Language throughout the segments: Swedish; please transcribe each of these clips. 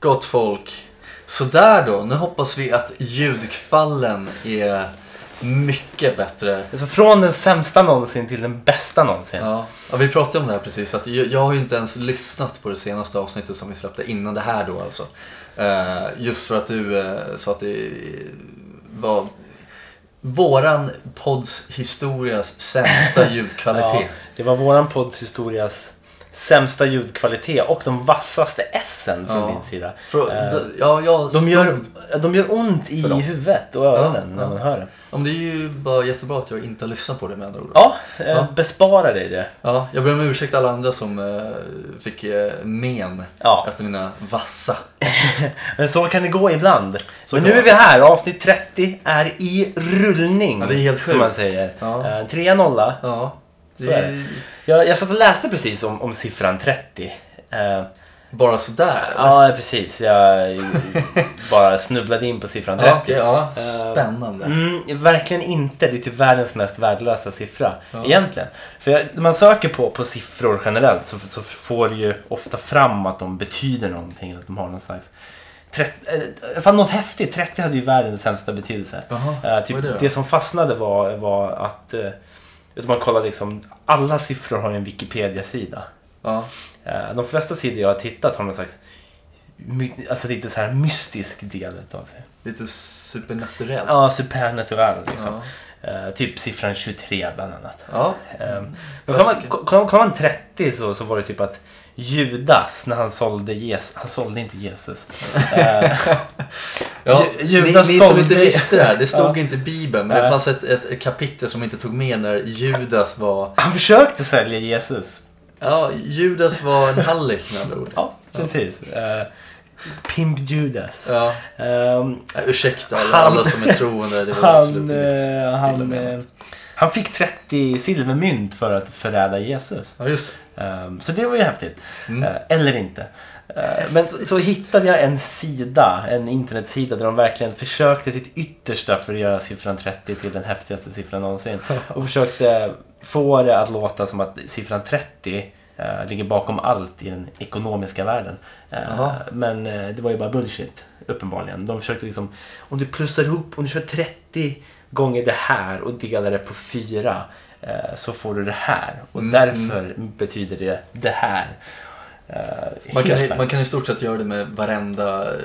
Gott folk. Sådär då, nu hoppas vi att ljudkvallen är mycket bättre. Alltså från den sämsta någonsin till den bästa någonsin. Ja. ja, vi pratade om det här precis. Att jag, jag har ju inte ens lyssnat på det senaste avsnittet som vi släppte innan det här då alltså. Eh, just för att du eh, sa att det var våran podds historias sämsta Ja, ljudkvalitet. det var våran podds historias sämsta ljudkvalitet och de vassaste essen från Ja. din sida. För, Eh, d- ja, jag De stod- gör, de gör ont i huvudet och öronen Ja, när ja. man hör det. Ja, men det är ju bara jättebra att jag inte har lyssnat på det med andra ord. Ja, eh, Ja. bespara dig det. Ja, jag ber om ursäkt alla andra som eh, fick eh, men Ja. efter mina vassa. Men så kan det gå ibland. Så Men kan nu är det. vi här. Avsnitt 30 är i rullning. Ja, det är helt Som sjukt. man säger. Ja. Eh, 3-0. Ja, Så är det. Jag, jag satt och läste precis om, om siffran 30. Eh, bara sådär. ja, precis. Jag bara snubblade in på siffran 30. ja, okej, ja. Eh, Spännande. Mm, verkligen inte. Det är typ världens mest värdelösa siffra Ja. egentligen. För jag, när man söker på, på siffror generellt så, så får du ju ofta fram att de betyder någonting. Att de har någon slags... 30, eh, fan något häftigt. 30 hade ju världens sämsta betydelse. Jaha, Eh, typ, vad är det, det då? som fastnade var, var att... eh, att man kollar liksom, alla siffror har ju en Wikipedia-sida. Ja. Eh, De flesta sidor jag har tittat har någon slags my- alltså lite så här mystisk del av sig. Lite supernaturellt. Ja. Ja, supernatural liksom. Eh, typ siffran 23 bland annat. Ja. Eh, men kollar man, Mm. Klassiker. ko- kollar, kollar man 30 så, så var det typ att Judas, när han sålde Jesus, han sålde inte Jesus. Eh, Ja, Ju- ni, ni Judas som sålde- inte visste det här, det stod Ja. inte i Bibeln, men det Nej. fanns ett, ett kapitel som inte tog med när Judas var... han försökte sälja Jesus. Ja, Judas var en hallick med andra ord. Ja, precis. Eh, Pimp Judas. Ja, Ehm, ja, ursäkta alla, Han- alla som är troende, det var han, absolut inget. eh, illa han, menat. eh, han fick 30 silvermynt för att förräda Jesus. Ja, just det. Ehm, Så det var ju häftigt. Mm. Eh, Eller inte. Eh, Men så, så hittade jag en sida, en internetsida där de verkligen försökte sitt yttersta för att göra siffran 30 till den häftigaste siffran någonsin. Och försökte få det att låta som att siffran 30 eh, ligger bakom allt i den ekonomiska världen. Eh, Jaha. Men eh, det var ju bara bullshit, uppenbarligen. De försökte liksom, om du plussar ihop, om du kör 30 gånger det här och delar det på fyra eh, så får du det här. Och Mm, därför betyder det det här. Eh, Man helt kan, i- klart. man kan i stort sett göra det med varenda eh,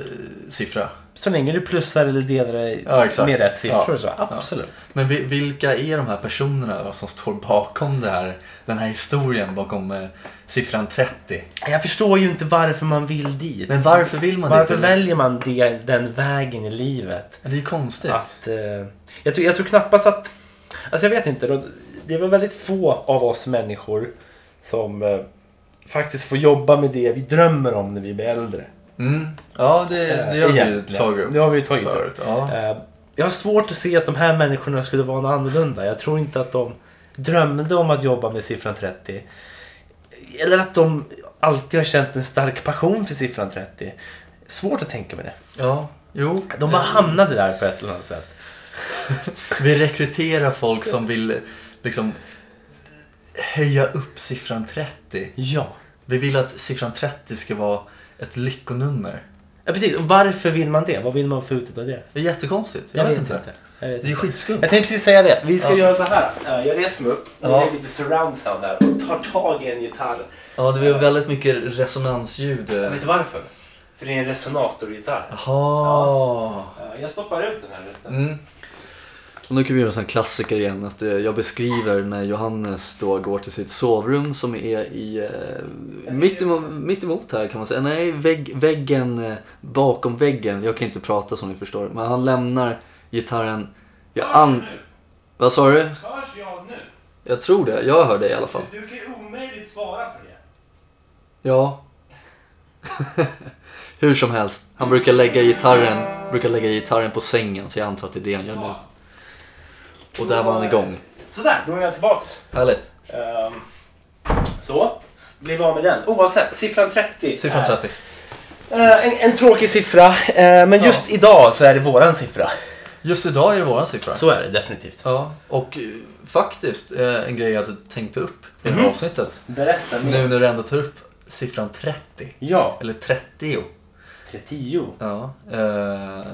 siffra. Så länge du plussar eller delar det Ja, exakt. med rätt siffror Ja, så ja. absolut. Men vi- vilka är de här personerna då som står bakom det här, den här historien bakom eh, siffran 30? Jag förstår ju inte varför man vill dit. Men varför vill man varför det? väljer man det, den vägen i livet? Ja, Det är ju konstigt. Att, eh, jag, tror, jag tror knappast att... Alltså jag vet inte. då- Det är väl väldigt få av oss människor som eh, faktiskt får jobba med det vi drömmer om när vi blir äldre. Eh, Mm. Ja, det, det har vi ju Egentligen. tagit upp Det har vi ju tagit upp. förut. Ja. Eh, Jag har svårt att se att de här människorna skulle vara något annorlunda. Jag tror inte att de drömde om att jobba med siffran 30. Eller att de alltid har känt en stark passion för siffran 30. Svårt att tänka mig det. ja, jo. De bara hamnade där på ett eller annat sätt. Vi rekryterar folk som vill liksom höja upp siffran 30. Ja. Vi vill att siffran 30 ska vara ett lyckonummer. ja precis. Och varför vill man det? Vad vill man få ut av det? Det är jättekonstigt. Jag, vet inte. Jag vet Det är ju inte. skitskumt. Jag tänkte precis säga det. Vi ska Ja. göra så här. Eh, Jag reser mig upp. Ja. Jag lägger lite surround sound här och tar tag i en gitarr. Ja, det var väldigt mycket resonansljud. Vet du varför? För det är en resonatorgitarr. Jaha. Eh, Jag stoppar ut den här rutan. Mm. Och nu kan vi göra en sån här klassiker igen. Att eh, jag beskriver när Johannes då går till sitt sovrum som är i eh, mitt, emo- mitt emot här kan man säga. Nej, vägg, väggen eh, bakom väggen. Jag kan inte prata som ni förstår. Men han lämnar gitarren. Jag an... Vad sa du? Hörs jag nu? Jag tror det. Jag hör dig i alla fall. Du kan ju omöjligt svara på det. Ja. Hur som helst, han brukar lägga gitarren, brukar lägga gitarren på sängen så jag antar att det är det han gör nu. Och där var han igång. Sådär, då är jag tillbaks. Härligt. Ehm, så. Blev av med den. Oavsett, siffran 30. Siffran är- 30. Eh, en, en tråkig siffra, eh, men Ja. just idag så är det våran siffra. Just idag är det våran siffra. Så är det definitivt. Ja, och eh, faktiskt eh, en grej jag hade tänkt upp i det här avsnittet. Berätta mer. Nu när du ändå tar upp siffran 30, Ja. eller 30. tio. Ja. Eh,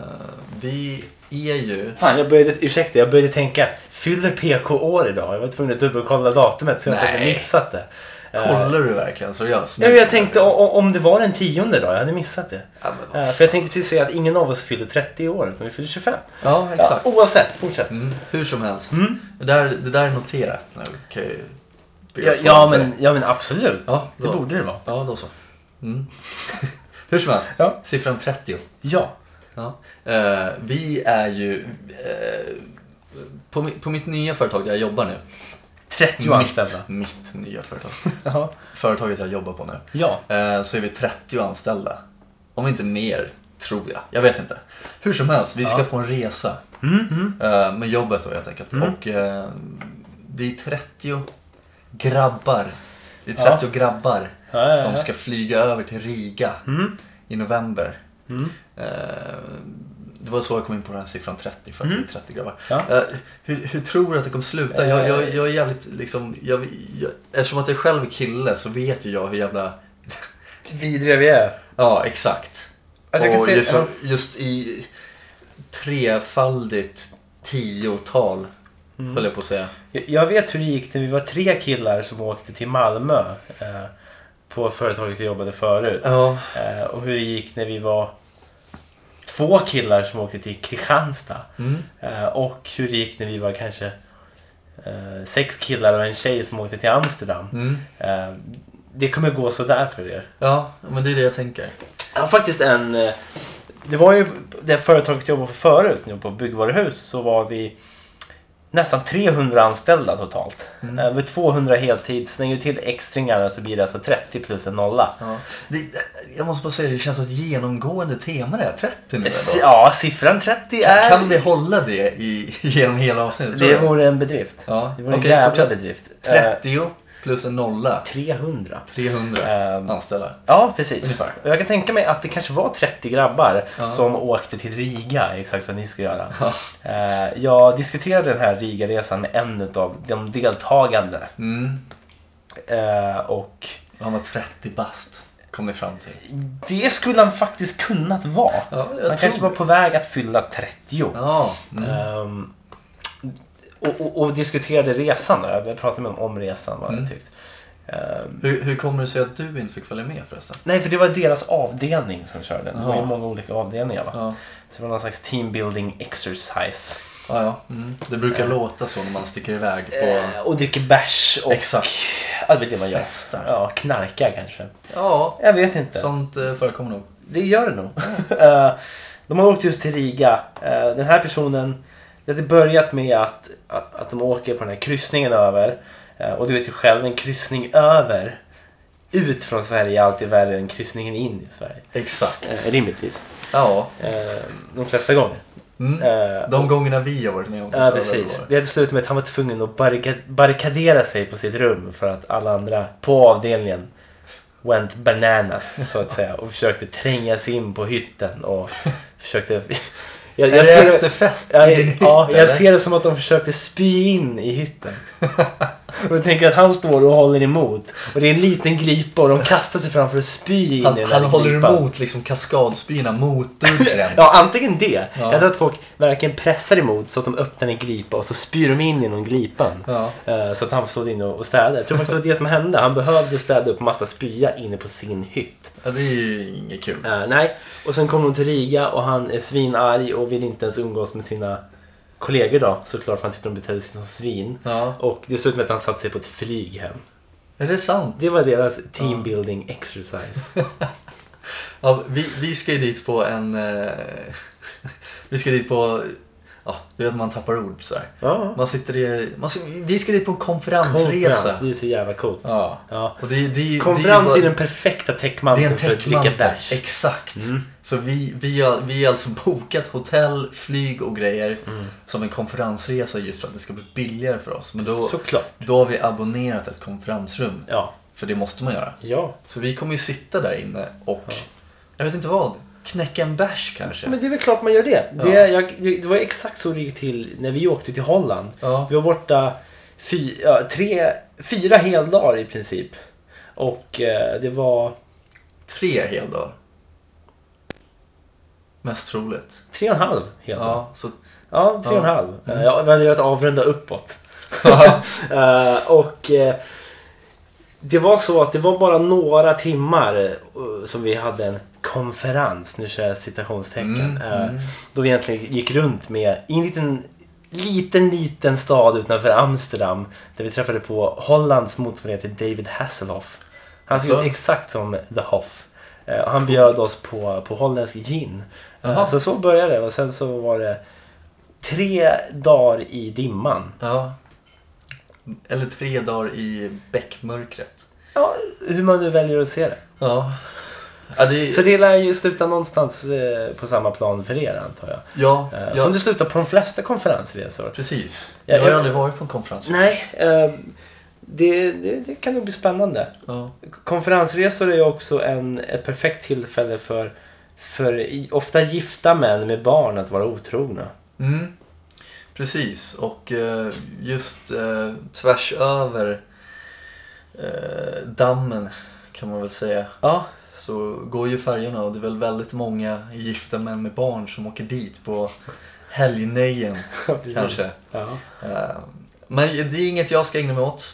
vi är ju... Fan, jag började, ursäkta, jag började tänka. Fyller PK år idag? Jag var tvungen att dubbelkolla datumet så jag inte hade Nej. missat det. Eh, Kollar du verkligen seriöst? Ja, men jag tänkte o- o- om det var den tionde då? Jag hade missat det. Ja, men vad- Eh, För jag tänkte precis säga att ingen av oss fyller 30 år utan vi fyller 25. ja Ja, exakt. oavsett, fortsätt. Mm, hur som helst. Det, där, det där är noterat nu. Kan jag ju be Ja, att få ja, för men, det. ja men absolut. Ja, det då. borde det vara. Ja, då så. Mm. hur som helst. Ja. Siffran 30. Ja. Ja. Eh, vi är ju... eh, på, mi- på mitt nya företag där jag jobbar nu. 30 anställda. Mitt, mitt nya företag. Ja. Företaget jag jobbar på nu. ja. Eh, så är vi 30 anställda. Om inte mer, tror jag. Jag vet inte. Hur som helst, vi ska på en resa. Mm, Eh, med jobbet då helt enkelt. Och eh, det är 30 grabbar. Det är 30 grabbar Ja, Eh. ja, ja. Mm. som ska flyga över till Riga i november. Eh, det var så jag kom in på den här siffran 30, för att det är 30 grabbar. Mm. Ja. Eh. Eh, hur, hur tror du att det kommer sluta? Jag, jag, jag är jävligt liksom, jag, jag, eftersom att jag själv är kille så vet ju jag hur jävla Vidriga vi är. Ja, exakt. Alltså, jag kan och säga- just, ja. just i trefaldigt tiotal, Mm. höll jag på att säga. Jag- Jag vet hur det gick när vi var tre killar som åkte till Malmö eh, på företaget jag jobbade förut. Ja. Eh, och hur det gick när vi var två killar som åkte till Kristianstad. Mm. Eh, och hur det gick när vi var kanske eh, sex killar och en tjej som åkte till Amsterdam. Mm. Eh, det kommer gå sådär för er. ja, men det är det jag tänker. Jag har faktiskt en... eh, Det var ju det företaget jag jobbade på förut, nu på byggvaruhus, så var vi nästan 300 anställda totalt. Mm. Eh, Över 200 heltid, slänger du till extringarna så blir det alltså 30 plus en nolla. Ja. Det, jag måste bara säga, det känns som ett genomgående tema det här, 30 nu S- ändå. Ja, siffran 30 är... Kan vi hålla det i, genom hela avsnittet? tror Det du? vore en bedrift. Ja, Det vore en okej, jävla fortsätt. bedrift. Eh, 30 plus en nolla, 300. 300 Ehm. anställda. Ja, precis. Ungefär. Och jag kan tänka mig att det kanske var 30 grabbar som åkte till Riga, exakt som ni ska göra. Ja. Eh, Jag diskuterade den här Riga-resan med en av de deltagande. Mm. Eh, Och Han var 30 bast, kom ni fram till. det skulle han faktiskt kunnat vara. Ja, jag han tror kanske var det. på väg att fylla 30. Ja, mm. Ehm, och, och, och diskuterade resan. då. Jag pratade med honom om resan, vad han Mm. hade tyckt. Ehm, hur, hur kommer det sig att du inte fick följa med förresten? Nej, för det var deras avdelning som körde. Det var ju Ja. många olika avdelningar. Va? Ja. Så det var någon slags teambuilding exercise. Ja, ja. Mm. Det brukar låta så när man sticker iväg på... Eh, Och dricker bärs och... Exakt. Ja, det vet det man gör. Festar. Ja, knarkar kanske. Ja, Jag vet inte. sånt eh, förekommer nog. Det gör det nog. Eh, de har åkt just till Riga. Eh, den här personen... Det hade börjat med att, att, att de åker på den här kryssningen över. Eh, och du vet ju själv, en kryssning över ut från Sverige är alltid värre än kryssningen in i Sverige. Exakt. Eh, rimligtvis. Ja, Eh, de flesta gånger. Mm. Eh, de gångerna vi har varit med om det så Ja, har det precis. varit. Det hade slutat med att han var tvungen att barrika- barrikadera sig på sitt rum för att alla andra på avdelningen went bananas, så att säga. Och försökte tränga sig in på hytten och försökte... Jag, Är det jag, ser, efterfest ja, i din hytt, ja, eller? jag ser det som att de försökte spy in i hytten. Och jag tänker att han står och håller emot. Och det är en liten gripa och de kastar sig framför och spy in i Han, den här han håller gripan. emot liksom kaskadspyna mot dörren. Ja, antingen det. Ja. Jag tror att folk verkligen pressar emot så att de öppnar en gripa och så spyr de in genom gripan. Ja. Eh, Så att han stod inne och och städade. Jag tror faktiskt att det var det som hände. Han behövde städa upp massa spya inne på sin hytt. Ja, det är ju inget kul. Eh, nej, och sen kom de till Riga och han är svinarg och vill inte ens umgås med sina kollegor då såklart för han tyckte de betedde sig som svin. Ja. Och det slutade med att han satte sig på ett flyg hem. Är det sant? Det var deras teambuilding exercise. Ja, vi, vi ska ju dit på en... Eh, vi ska dit på... Ja, du vet man tappar ord sådär. Ja. Man sitter i... Man, vi ska dit på en konferensresa. Konferens, det är så jävla coolt. Ja. Ja. Och det, det, det, Konferens det är ju bara- den perfekta Det är en täckmanteln för att dricka täckmantel. bärs. Exakt. Mm. Så vi, vi, har, vi har alltså bokat hotell, flyg och grejer som en konferensresa just för att det ska bli billigare för oss. Men då, Såklart. då har vi abonnerat ett konferensrum. Ja. För det måste man göra. Ja. Så vi kommer ju sitta där inne och, jag vet inte vad, knäcka en bärs kanske. Men det är väl klart man gör det. Ja. Det, jag, det var exakt så det gick till när vi åkte till Holland. Ja. Vi var borta fy, ja, tre, fyra heldagar i princip. Och eh, det var... Tre heldagar. Mest troligt. Tre och en halv hela. Ja, Ja, så, ja tre och en Ja. Mm. halv. Eh, Jag väljer att avrunda uppåt. Eh, och eh, det var så att det var bara några timmar eh, som vi hade en konferens, nu kör jag Mm, citationstecken. eh, Då vi egentligen gick runt med i en liten, liten, liten stad utanför Amsterdam. Där vi träffade på Hollands motsvarighet till David Hasselhoff. Han såg Alltså? ut exakt som The Hoff. Eh, och Han bjöd oss på, på holländsk gin. Jaha. Så så började det och sen så var det tre dagar i dimman. ja. Eller tre dagar i bäckmörkret. Ja, hur man nu väljer att se det. Ja. Ja, det, Så det lär ju sluta någonstans eh, på samma plan för er antar jag. ja, Eh, ja Som det slutar på de flesta konferensresor. precis. Ja, Jag har jag- ju aldrig varit på en konferens. Nej, eh, det, det, det kan nog bli spännande. Ja. Konferensresor är ju också en, ett perfekt tillfälle för, för i- ofta gifta män med barn att vara otrogna. Mm. Precis, och eh, just eh, tvärs över eh, dammen kan man väl säga Ja, så går ju färjorna och det är väl väldigt många gifta män med barn som åker dit på helgnöjen. precis. Kanske. Ja. Eh, Men det är inget jag ska ägna mig åt.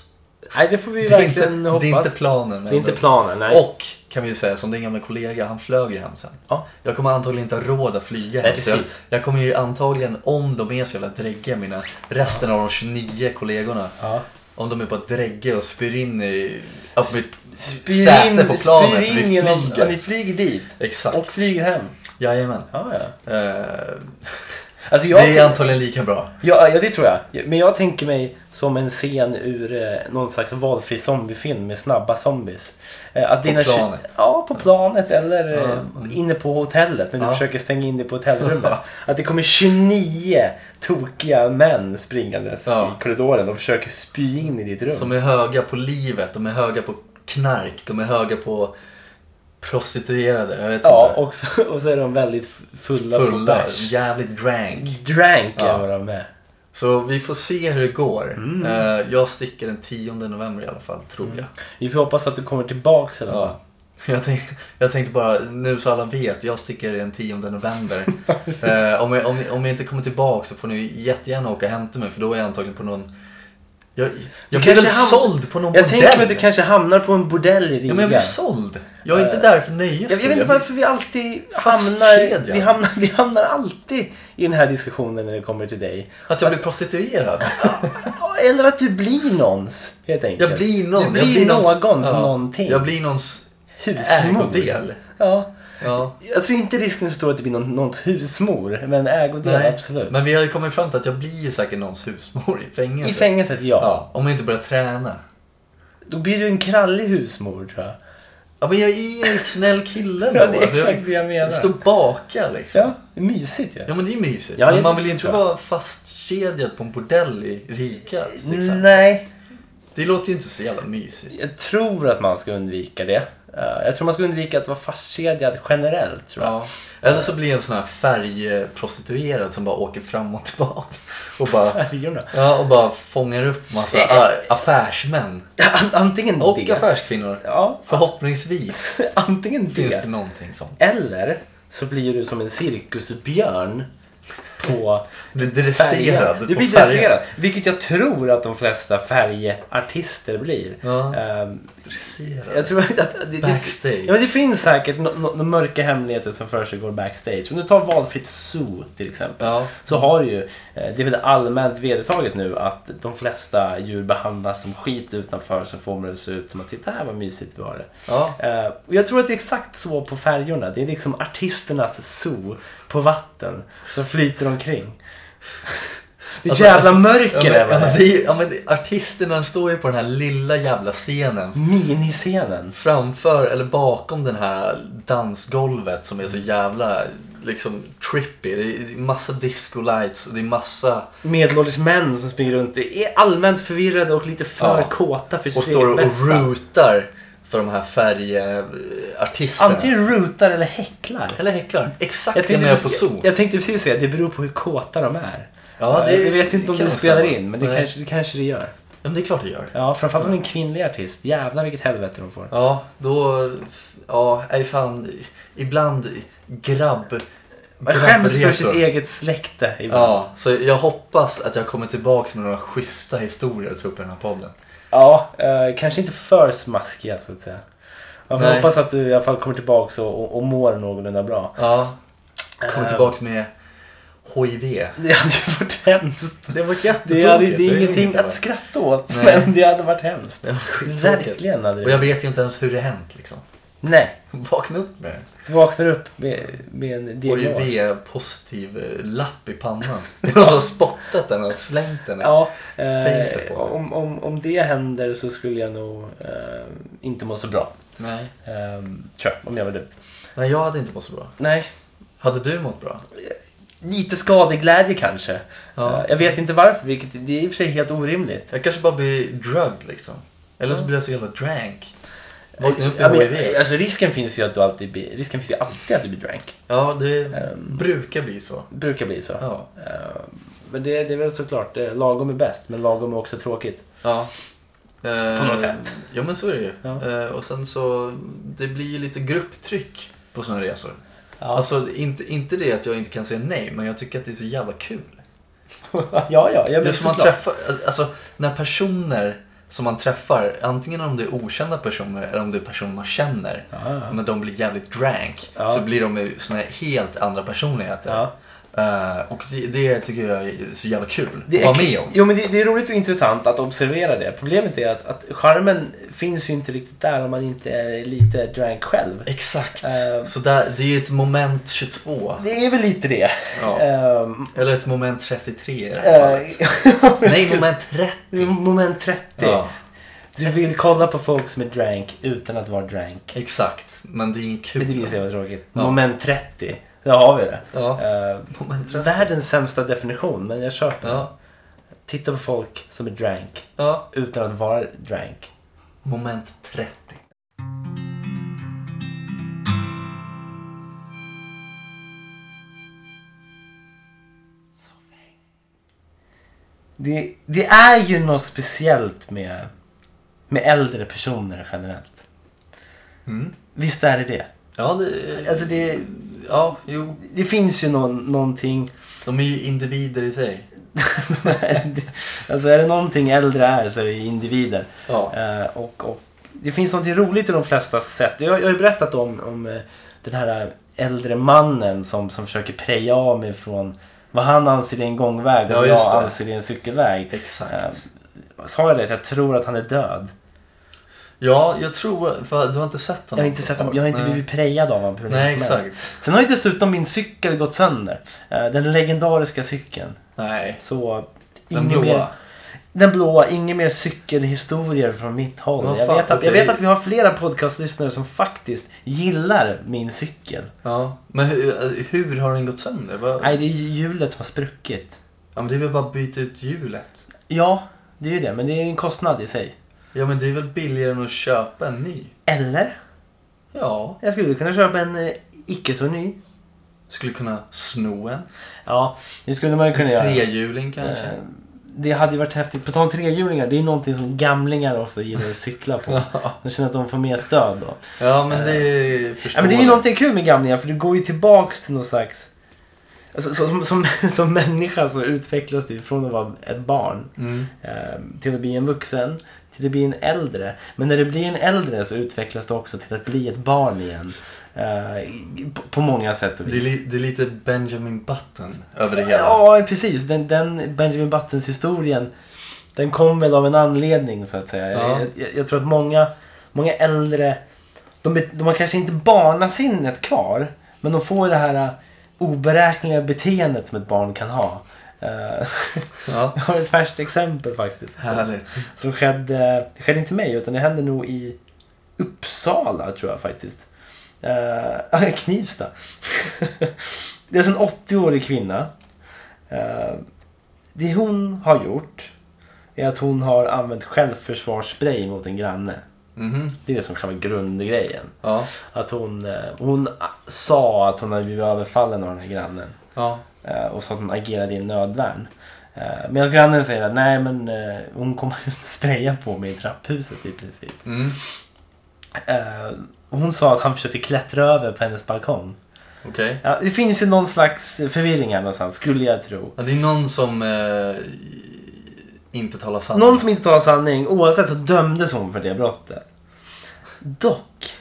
Nej, det får vi Det är inte, verkligen hoppas. det är inte planen. det är inte ändå. planen, nej. Och kan vi ju säga som din gamla kollega, han flög ju hem sen. Ja. Jag kommer antagligen inte ha råd att flyga Nej, hem. så jag- precis. Jag kommer ju antagligen, om de är så jävla dräggiga mina, resten av de 29 kollegorna, Ja. om de är bara dräggiga och spyr in i, alltså mitt Spyr säte in- på planet för spyr in vi genom- ja, flyger. Ni flyger dit Exakt, och flyger hem. jajamän. Ja, ja. Eh, Alltså jag det är antagligen lika bra. Ja, ja, det tror jag. Men jag tänker mig som en scen ur eh, någon slags valfri zombiefilm med snabba zombies. Eh, att På dina- planet. Ja, på planet eller eh, Ja, mm. inne på hotellet när du Ja. försöker stänga in dig på hotellrummet. att det kommer 29 tokiga män springandes Ja. i korridoren och försöker spy in i ditt rum. Som är höga på livet, de är höga på knark, de är höga på prostituerade. Jag vet ja, inte. och så, och så är de väldigt f- fulla, på Fulla, bärs. jävligt drank. Drank Ja. ja. var de med. Så vi får se hur det går. Mm. Eh, jag sticker den 10 november i alla fall, tror jag. Vi får hoppas att du kommer tillbaks i alla fall. Ja. Jag, tänk, jag tänkte bara, nu så alla vet, jag sticker den 10 november. eh, om, jag, om, om jag inte kommer tillbaka så får ni jättegärna åka och hämta mig för då är jag antagligen på någon... Jag, jag blir kanske väl ham- såld på någon Jag bordell. tänker mig att du kanske hamnar på en bordell i Riga. Ja, men jag blir såld. Jag är inte där för nöjes Eh, Jag, jag skull. vet inte varför vi alltid Fastkedjad. hamnar vi, hamnar... vi hamnar alltid i den här diskussionen när det kommer till dig. Att jag blir prostituerad. Eller att du blir någons, helt enkelt. Jag blir någon. Du blir, jag blir någons, ja. någonting. Jag blir någons husmor. ägodel. Ja. Ja. Jag tror inte risken är så stor att du blir någon, någons husmor, men ägodel, Nej, absolut. Men vi har ju kommit fram till att jag blir ju säkert någons husmor i fängelset. I fängelset, ja. Ja, om jag inte börjar träna. Då blir du en krallig husmor, tror jag. Ja, men jag är ju en snäll kille då. Ja, det är Alltså, jag- exakt det jag menar. jag Står och bakar liksom. Ja, det är mysigt ju. Ja, men det är ju mysigt. Ja, det men är man vill ju mysigt, inte tror jag. vara fastkedjad på en bordell i riket. Mm. Liksom. Nej, Det låter ju inte så jävla mysigt. jag tror att man ska undvika det. Eh, Jag tror man ska undvika att vara fastkedjad generellt, tror jag. Ja. Eller så blir jag en sån här färgprostituerad som bara åker fram och tillbaks. Och bara, Färgerna. ja, och bara fångar upp massa ä, affärsmän. Ja, an- antingen Och det. affärskvinnor. Ja, Förhoppningsvis antingen finns det. det någonting sånt. Eller så blir du som en cirkusbjörn på Blir färger. dresserad Du på blir färger. dresserad. Vilket jag tror att de flesta färgartister blir. Ja. Ehm, Dresserad. jag tror att att det, Backstage. Det, ja, men det finns säkert no, no, no mörka hemligheter som försiggår backstage. Om du tar valfritt zoo till exempel. Ja. Så har du ju, eh, det är väl allmänt vedertaget nu att de flesta djur behandlas som skit utanför så får man det att se ut som att titta här vad mysigt vi har det. Ja. Eh, och jag tror att det är exakt så på färjorna. Det är liksom artisternas zoo på vatten som flyter omkring. Det är ett Alltså, jävla mörker Ja, men, över ja, men det. det är, ju- ja, men det, artisterna står ju på den här lilla jävla scenen Miniscenen. framför eller bakom den här dansgolvet som är så jävla liksom trippy. Det är det är massa disco lights och det är massa Medelålders män som springer runt är allmänt förvirrade och lite för Ja. kåta för och sitt står eget och bästa. rootar för de här färgartisterna. Antingen rootar eller häcklar. Eller häcklar. Exakt Jag jag när tänkte, jag är på precis, zoo. jag, jag tänkte precis säga att det beror på hur kåta de är. Ja, det- jag vet inte om det det, kan spelar stämma. in, men det Nej. kanske, det kanske det gör. Ja, men det är klart det gör. Ja, framförallt om det är en kvinnlig artist. Jävlar vilket helvete de får. Ja, då... Ja, nej fan. Ibland grabb Man skäms för sitt Grabbrepor. eget släkte ibland. Ja, så jag hoppas att jag kommer tillbaka med några schyssta historier att ta upp i den här podden. Ja, eh, kanske inte för smaskiga så att säga. Jag Nej. hoppas att du i alla fall kommer tillbaka och, och, och mår någorlunda bra. Ja, Eh, kommer tillbaka med HIV. Det hade ju varit hemskt. Det var Det, hade, det jättetråkigt. är ingenting inget att skratta åt, Nej. men det hade varit hemskt. Det var skittråkigt. Verkligen hade Och det. jag vet ju inte ens hur det hänt liksom. Nej, Vakna upp med det. du vaknar upp med, med en diagnos. HIV-positiv eh, lapp i pannan. Det är någon som har spottat den och slängt den. Ja, Face eh, på. om, om, om det händer så skulle jag nog eh, inte må så bra. Nej. Eh, tror jag, om jag var du. Nej, jag hade inte mått så bra. Nej, Hade du mått bra? lite skadeglädje kanske. Ja. Eh, Jag vet inte varför, vilket det är i och för sig helt orimligt. Jag kanske bara blir drugged liksom. Eller så blir jag så jävla drank. Vakna upp Eh, Ja, med men, HIV. alltså, risken finns ju att du alltid blir, risken finns ju alltid att du blir drank. Ja, det Ehm. brukar bli så. brukar bli så. Ja. Eh, Men det, det är väl såklart, eh, lagom är bäst, men lagom är också tråkigt. ja. Eh, På något sätt. Ja, men så är det ju. Ja. Eh, och sen så, det blir ju lite grupptryck på sådana resor. Ja, Alltså, inte, inte det att jag inte kan säga nej, men jag tycker att det är så jävla kul. ja, ja, ja men Just man såklart. träffar, alltså när personer som man träffar, antingen om det är okända personer eller om det är personer man känner, Ja, ja. när de blir jävligt drank Ja. så blir de ju såna här helt andra personligheter. Ja. Eh, och det, det tycker jag är så jävla kul Det att är, vara med om. jo, men det, det är roligt och intressant att observera det. Problemet är att, att charmen finns ju inte riktigt där om man inte är lite drank själv. Exakt. Eh. Så där, det är ett moment 22. Det är väl lite det. Ja. Ehm, Eller ett moment 33 i det här eh, fallet. Nej, moment 30. moment 30. Ja, Du vill kolla på folk som är drank utan att vara drank. exakt. Men det är inget kul. Men det blir så jävla tråkigt. Ja. Moment 30. Där har vi det. Ja. Eh, Moment 30. Världens sämsta definition, men jag köper den. Ja. Titta på folk som är drank ja. utan att vara drank. Moment 30. Det, det är ju något speciellt med, med äldre personer generellt. Mm. Visst är det det? Ja, det, Alltså det, ja, jo. det finns ju någon, någonting... De är ju individer i sig. alltså är det någonting äldre är så är det ju individer. Ja. Eh, och, och det finns något roligt i de flesta sätt. Jag, jag har ju berättat om, om eh, den här äldre mannen som, som försöker preja av mig från vad han anser är en gångväg och Ja, vad just jag det. anser är en cykelväg. Eh, Exakt. Sa jag det? att Jag tror att han är död. Ja, jag tror... För du har inte sett Jag honom? har inte, på sett, ett tag. jag har inte Nej. blivit prejad av honom på hur länge Nej, som exakt. helst. Sen har ju dessutom min cykel gått sönder. Eh, Den legendariska cykeln. Nej. Så... Den ingen blåa. mer- Den blåa, ingen mer cykelhistorier från mitt håll. Vad jag, fan, vet att, jag okej. vet att vi har flera podcastlyssnare som faktiskt gillar min cykel. Ja. Men hur, hur har den gått sönder? Vad- Nej, det är ju hjulet som har spruckit. Ja, men det är väl bara att byta ut hjulet? Ja, det är ju det, men det är en kostnad i sig. Ja, men det är väl billigare än att köpa en ny? Eller? Ja. Jag skulle kunna köpa en eh, icke så ny. Skulle kunna sno en. Ja, det skulle man ju kunna göra. Trehjuling kanske. Eh, Det hade ju varit häftigt. På tal om trehjulingar, det är någonting som gamlingar ofta gillar att cykla på. De känner att de får mer stöd då. Ja, men det förstår Eh. Ja, men det är ju jag. någonting kul med gamlingar för du går ju tillbaks till någon slags... Alltså, så, som, som, som människa så utvecklas du ju från att vara ett barn Mm. eh, till att bli en vuxen, till att bli en äldre. Men när du blir en äldre så utvecklas du också till att bli ett barn igen. Eh, i- på, på många sätt och Det, är vis. li, det är lite Benjamin Button över det hela. Ja, precis. Den, den Benjamin Buttons-historien den kom väl av en anledning så att säga. Ja. Jag, jag, jag tror att många, många äldre de, är- de har kanske inte barnasinnet kvar, men de får det här eh, oberäkneliga beteendet som ett barn kan ha. Eh, Ja. Jag har ett färskt exempel faktiskt. Som, Härligt. som skedde, det skedde inte mig, utan det hände nog i Uppsala tror jag faktiskt. Uh, Knivsta. det är alltså en 80-årig kvinna. Eh, det hon har gjort är att hon har använt självförsvarsspray mot en granne. Mhm. Det är det som är själva grundgrejen. Ja. Att hon, eh, hon a- sa att hon hade blivit överfallen av den här grannen. Ja. eh, Och så att hon agerade i en nödvärn. Eh, Medan grannen säger att nej men eh, hon kommer ut och spraya på mig i trapphuset i princip. Mm. Eh, Hon sa att han försökte klättra över på hennes balkong. Okej. Ja, det finns ju någon slags förvirring här någonstans, skulle jag tro. Ja, det är någon som eh, inte talar sanning. Någon som inte talar sanning, oavsett så dömdes hon för det brottet. Dock,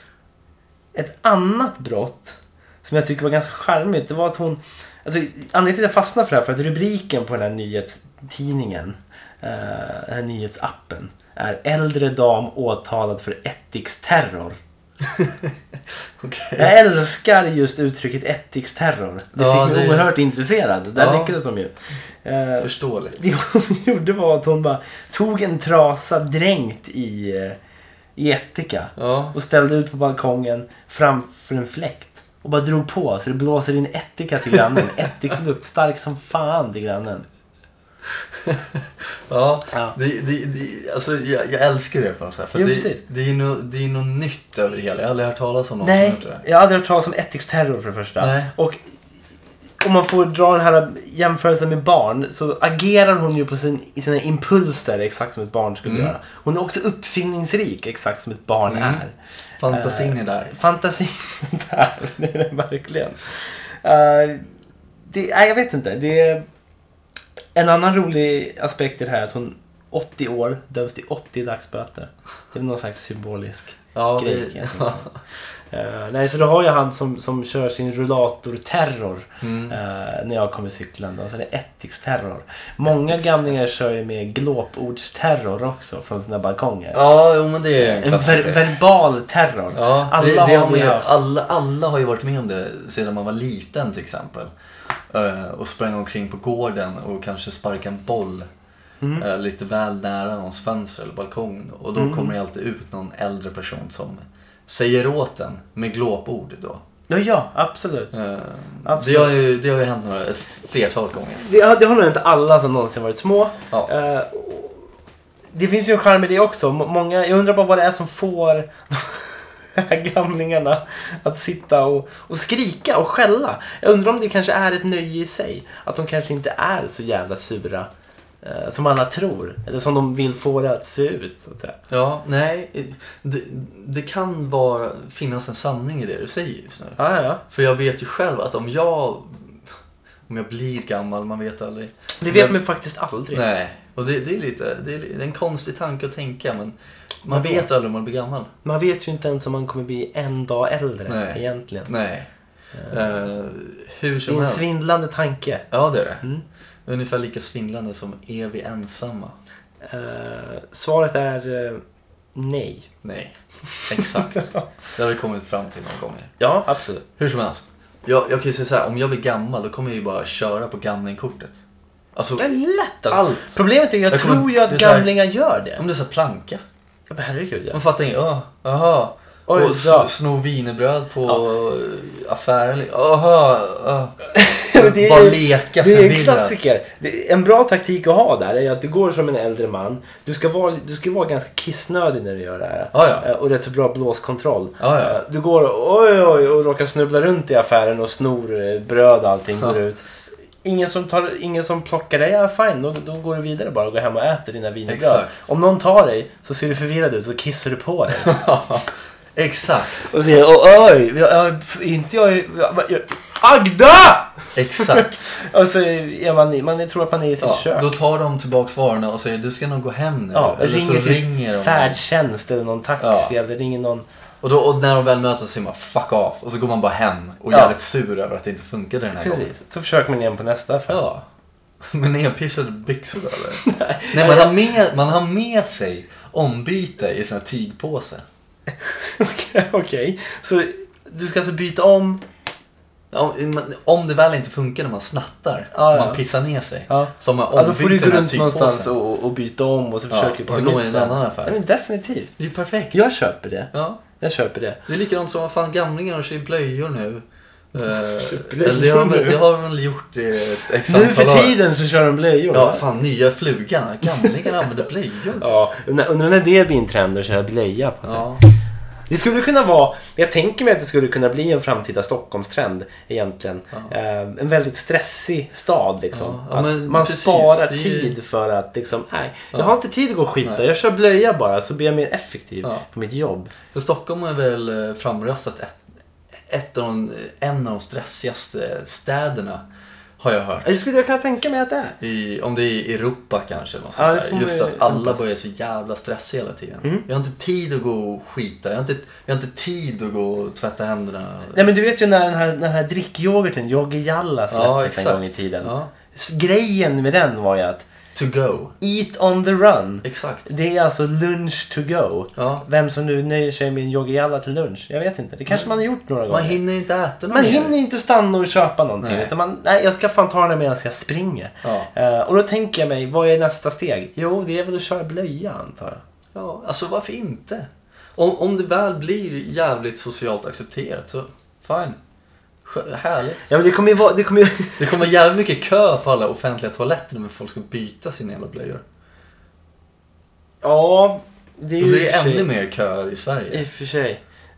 ett annat brott som jag tycker var ganska charmigt, det var att hon... Alltså, anledningen till att jag fastnade för det här, för att rubriken på den här nyhetstidningen, eh, den här nyhetsappen, är Äldre dam åtalad för ättiksterror. Okej. Jag älskar just uttrycket ättiksterror. Det Ja, fick mig det- oerhört intresserad. Där Ja. lyckades de ju. Eh, Förståeligt. det hon gjorde var att hon bara tog en trasa dränkt i, eh, i ättika Ja. och ställde ut på balkongen framför en fläkt och bara drog på så det blåser in ättika till grannen. Ättikslukt stark som fan till grannen. ja. Ja. Det, det, det, alltså, jag, jag älskar det på något sätt. För Jo, det, precis. Det, är no, det är något nytt över det hela. Jag har aldrig hört talas om någon Nej, som gjort det. jag har aldrig hört talas om ättiksterror för det första. Nej. Och om man får dra den här jämförelsen med barn så agerar hon ju på sin, i sina impulser exakt som ett barn skulle Mm. göra. Hon är också uppfinningsrik exakt som ett barn är. Fantasin är där. Fantasin där, det är den verkligen. Eh, det, nej, jag vet inte. Det är en annan rolig aspekt i det här är att hon 80 år döms till 80 dagsböter. Det är någon slags symbolisk Ja, det- grej. kan jag tänka mig. Eh, nej, så då har jag han som, som kör sin rullator-terror Mm. eh, när jag kommer cyklande. Och sen är det ättiksterror. Många gamlingar kör ju med glåpordsterror också från sina balkonger. Ja, jo, men det är en en klassiker. ver- verbal terror. Ja, alla det, det har har man vi ju, haft. alla, alla har ju varit med om det sedan man var liten till exempel. Eh, och sprang omkring på gården och kanske sparkade en boll Mm. eh, lite väl nära någons fönster eller balkong. Och då kommer det alltid ut någon äldre person som säger åt en med glåpord då. Ja, ja absolut. Eh, det, Absolut. har ju, det har ju hänt några, ett flertal gånger. Det, har- det har nog inte alla som någonsin varit små. Ja. Eh, och det finns ju en charm i det också. M- Många, jag undrar bara vad det är som får de här gamlingarna att sitta och, och skrika och skälla. Jag undrar om det kanske är ett nöje i sig. Att de kanske inte är så jävla sura eh, som alla tror. Eller som de vill få det att se ut. Så att säga. Ja, nej. eh, Det, det kan vara, finnas en sanning i det du säger just nu. Ja, ja, ja. För jag vet ju själv att om jag om jag blir gammal, man vet aldrig. Det vet Men- man ju faktiskt aldrig. Nej, och det, det är lite, det är, li- det är en konstig tanke att tänka men man Vadå? vet aldrig om man blir gammal. Man vet ju inte ens om man kommer bli en dag äldre Nej. egentligen. Nej. Eh, hur Det är som en helst. svindlande tanke. Ja, det är det. Mm. Ungefär lika svindlande som är vi ensamma? Eh, svaret är eh, nej. Nej, exakt. det har vi kommit fram till några gånger. Ja, absolut. Hur som helst. Jag, jag kan ju säga så här, om jag blir gammal då kommer jag ju bara köra på gamlingkortet. Alltså, Det är lätt alltså. allt. Problemet är ju, jag, Jag kommer- tror ju att det är så här- gamlingar gör det. Om det är så här planka. Ja, men herregud ja. Man fattar inget. Åh, aha. Oj, och ja. s- sno wienerbröd på affären. Aha, aha. men det är- Bara leka Det är en förvirrad. klassiker. Det är en bra taktik att ha där är att du går som en äldre man. Du ska vara, du ska vara ganska kissnödig när du gör det här. Ja, ja. Eh, Och rätt så bra blåskontroll. Ja, ja. Eh, Du går och- oj, oj, och råkar snubbla runt i affären och snor eh, bröd och allting går ut. Ingen som, tar, ingen som plockar dig, ja fine, då, då går du vidare bara och går hem och äter dina wienerbröd. Exakt. Om någon tar dig så ser du förvirrad ut så kissar du på dig. Exakt, Och säger "Åh, oj, jag, jag, inte jag, jag, jag Agda! exakt. Och så är man, man tror att man är i sitt ja, kök. då tar de tillbaks varorna och säger du ska nog gå hem nu. ja, eller så ringer till ringer de. färdtjänst eller någon taxi Ja. eller ringer någon. Och, då, och när de väl möts så säger man fuck off. Och så går man bara hem och är Ja. jävligt sur över att det inte funkade den här gången. Precis. Så försöker man igen på nästa affär. Ja. Med nerpissade byxor då, eller? Nej, man har, med, man har med sig ombyte i sån här tygpåse. Okej, Okej, så du ska alltså byta om. Om, om det väl inte funkar när man snattar, Ja, ja. man pissar ner sig. Ja. Så har man Ja, då Alltså, får du ombytt gå den här runt någonstans tygpåsen. och, och byta om och så Ja, försöker du och så går man i en ställe. annan affär. Ja, men definitivt. Det är ju perfekt. Jag köper det. Ja. Jag köper det. Det är likadant som vad fan gamlingar och kör i blöjor nu. Eh, blöjor eller det, har, väl- nu? det har de väl gjort i ett x Nu antal för år. tiden så kör de blöjor. Ja, fan nya flugan. Gamlingar använder blöjor. ja. Undrar undrar när det blir en trend att köra blöja på sig. Ja. Det skulle kunna vara, jag tänker mig att det skulle kunna bli en framtida Stockholmstrend egentligen. Eh, en väldigt stressig stad liksom. Ja, ja, Att men man precis, sparar det är ju- tid för att liksom, nej, jag har inte tid att gå och skita. Jag kör blöja bara så blir jag mer effektiv Ja. på mitt jobb. För Stockholm har väl eh, framröstat ett, ett av de, en av de stressigaste städerna har jag hört. Det skulle jag kunna tänka mig att det är. I, om det är i Europa kanske. Något Ja, sånt det där. får Just man att ju alla anpassa. börjar så jävla stressiga hela tiden. Mm. Jag har inte tid att gå och skita. Jag har inte, jag har inte tid att gå och tvätta händerna. Nej men du vet ju när den här, den här drickyoghurten, Yogi Jalla, släpptes en gång i tiden. Ja. S- Grejen med den var ju att To go. Eat on the run. Exakt. Det är alltså lunch to go. Ja. Vem som nu nöjer sig med en Yogi Jalla till lunch, jag vet inte. Det kanske Mm. man har gjort några Man gånger. hinner inte äta något Man mer. hinner inte stanna och köpa någonting. Nej. Utan man, nej, jag ska fan ta den medan jag springer. Ja. Eh, och då tänker jag mig, vad är nästa steg? Jo, det är väl att köra blöja antar jag. Ja, alltså varför inte? Om, om det väl blir jävligt socialt accepterat så fine. Skö- Härligt. Ja, men det kommer ju vara... Det kommer ju... Det kommer jävligt mycket kö på alla offentliga toaletter när folk ska byta sina jävla blöjor. ja, det är Då ju blir det i och för sig- ännu mer köer i I och Sverige. för sig.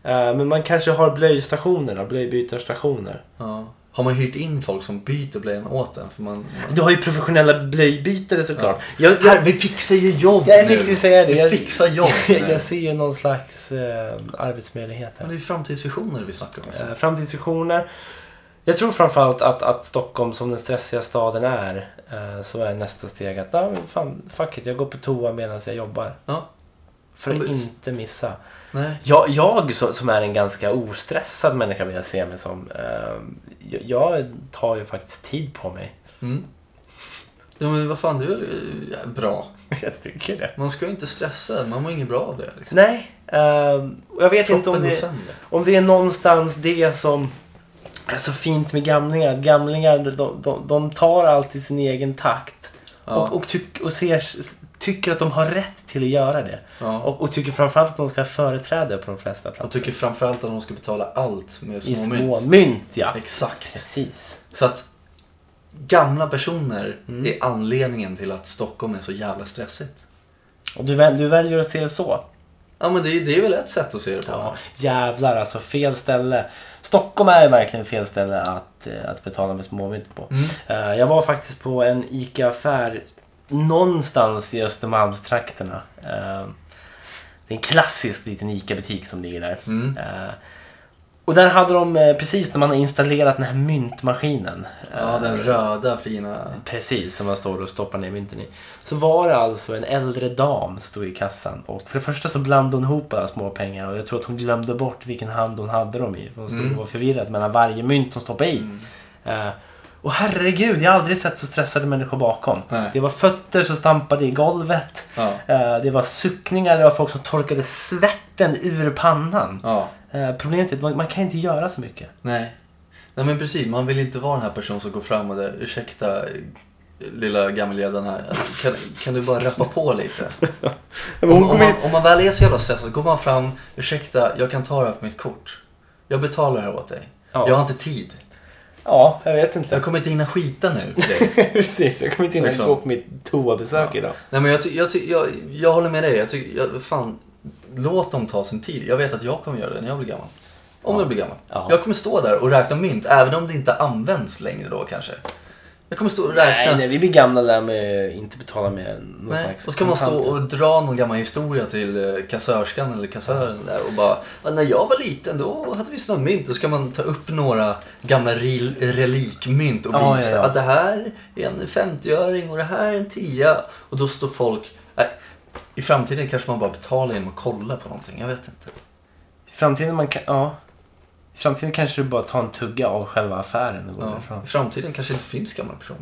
Eh, men man kanske har blöjstationer då, blöjbytarstationer. Ja. Har man hyrt in folk som byter blöjan åt en? För man, man... Du har ju professionella blöjbytare såklart. Jag, jag, Här, vi fixar ju jobb jag nu! tänkte ju säga det. Vi Jag, fixar jobb nu! jag ser ju någon slags eh, arbetsmöjlighet här. Men det är ju framtidsvisioner vi snackar om. Alltså. Eh, framtidsvisioner. Jag tror framförallt att, att Stockholm som den stressiga staden är eh, så är nästa steg att ah, men fan, fuck it, jag går på toa medan jag jobbar. Ja. För Ja, att men- inte missa. Nej. Jag, jag så- som är en ganska ostressad människa vill jag se mig som. eh, jag- Jag tar ju faktiskt tid på mig. Mm. Ja, men vad fan, det är väl eh, bra. Jag tycker det. Man ska ju inte stressa, man mår inget bra av det. Liksom. Nej, eh, och jag vet inte om Kroppen går det, sönder. om det är någonstans det som är så fint med gamlingar. Att Gamlingar de, de, de tar alltid sin egen takt. Ja. Och, och, tyck, och ser, tycker att de har rätt till att göra det. Ja. Och, och tycker framförallt att de ska ha företräde på de flesta Jag platser. tycker framförallt att de ska betala allt med I småmynt. små mynt, ja. Exakt. Precis. Så att gamla personer Mm. är anledningen till att Stockholm är så jävla stressigt. Och du, väl, du väljer att se det så. Ja men det, är- det är väl ett sätt att se det på. liksom. Ja, jävlar alltså, fel ställe. Stockholm är verkligen fel ställe att, eh, att betala med småmynt på. Mm. Eh, Jag var faktiskt på en ICA-affär någonstans i Östermalmstrakterna. Eh, Det är en klassisk liten ICA-butik som ligger där. Mm. Eh, Och där hade de, eh, precis när man har installerat den här myntmaskinen. Ja, den Eh. röda fina. Precis, som man står och stoppar ner mynten i. Så var det alltså en äldre dam stod i kassan. Och för det första så blandade hon ihop alla små pengar och jag tror att hon glömde bort vilken hand hon hade dem i. För Hon stod Mm. och var förvirrad mellan varje mynt hon stoppade i. Eh, och herregud, jag har aldrig sett så stressade människor bakom. Nej. Det var fötter som stampade i golvet. Ja. Eh, det var suckningar, det var folk som torkade svetten ur pannan. Ja. Eh, problemet är att man, man kan inte göra så mycket. Nej. Nej men precis, man vill inte vara den här personen som går fram och det, ursäkta eh, lilla gammelgäddan här. Kan, kan du bara rappa på lite? Om, om, man, om man väl är så jävla stressad går man fram, ursäkta, jag kan ta det här på mitt kort. Jag betalar det här åt dig. Ja. Jag har inte tid. Ja, jag vet inte. Jag kommer inte hinna skita nu för dig. Precis, jag kommer inte hinna Liksom. gå på mitt toabesök Ja. idag. Nej men jag, ty- jag, ty- jag, jag håller med dig. Jag tycker, jag, fan, låt dem ta sin tid. Jag vet att jag kommer göra det när jag blir gammal. Om jag blir gammal. Ja. Jag kommer stå där och räkna mynt, även om det inte används längre då kanske. Jag kommer stå och räkna. Nej, nej, vi blir gamla där med inte betala med någon Nej, slags och ska man stå kontanter. och dra någon gammal historia till eh, kassörskan eller kassören där och bara "Ja, När jag var liten då hade vi snömynt. Då ska man ta upp några gamla rel- relikmynt och Ja, visa ja, ja. att det här är en 50-öring och det här är en 10 Och då står folk... Nej, I framtiden kanske man bara betalar genom att kolla på någonting. Jag vet inte. I framtiden man kan, ja. I framtiden kanske du bara tar en tugga av själva affären och går Ja. därifrån. I framtiden kanske inte finns gamla personer.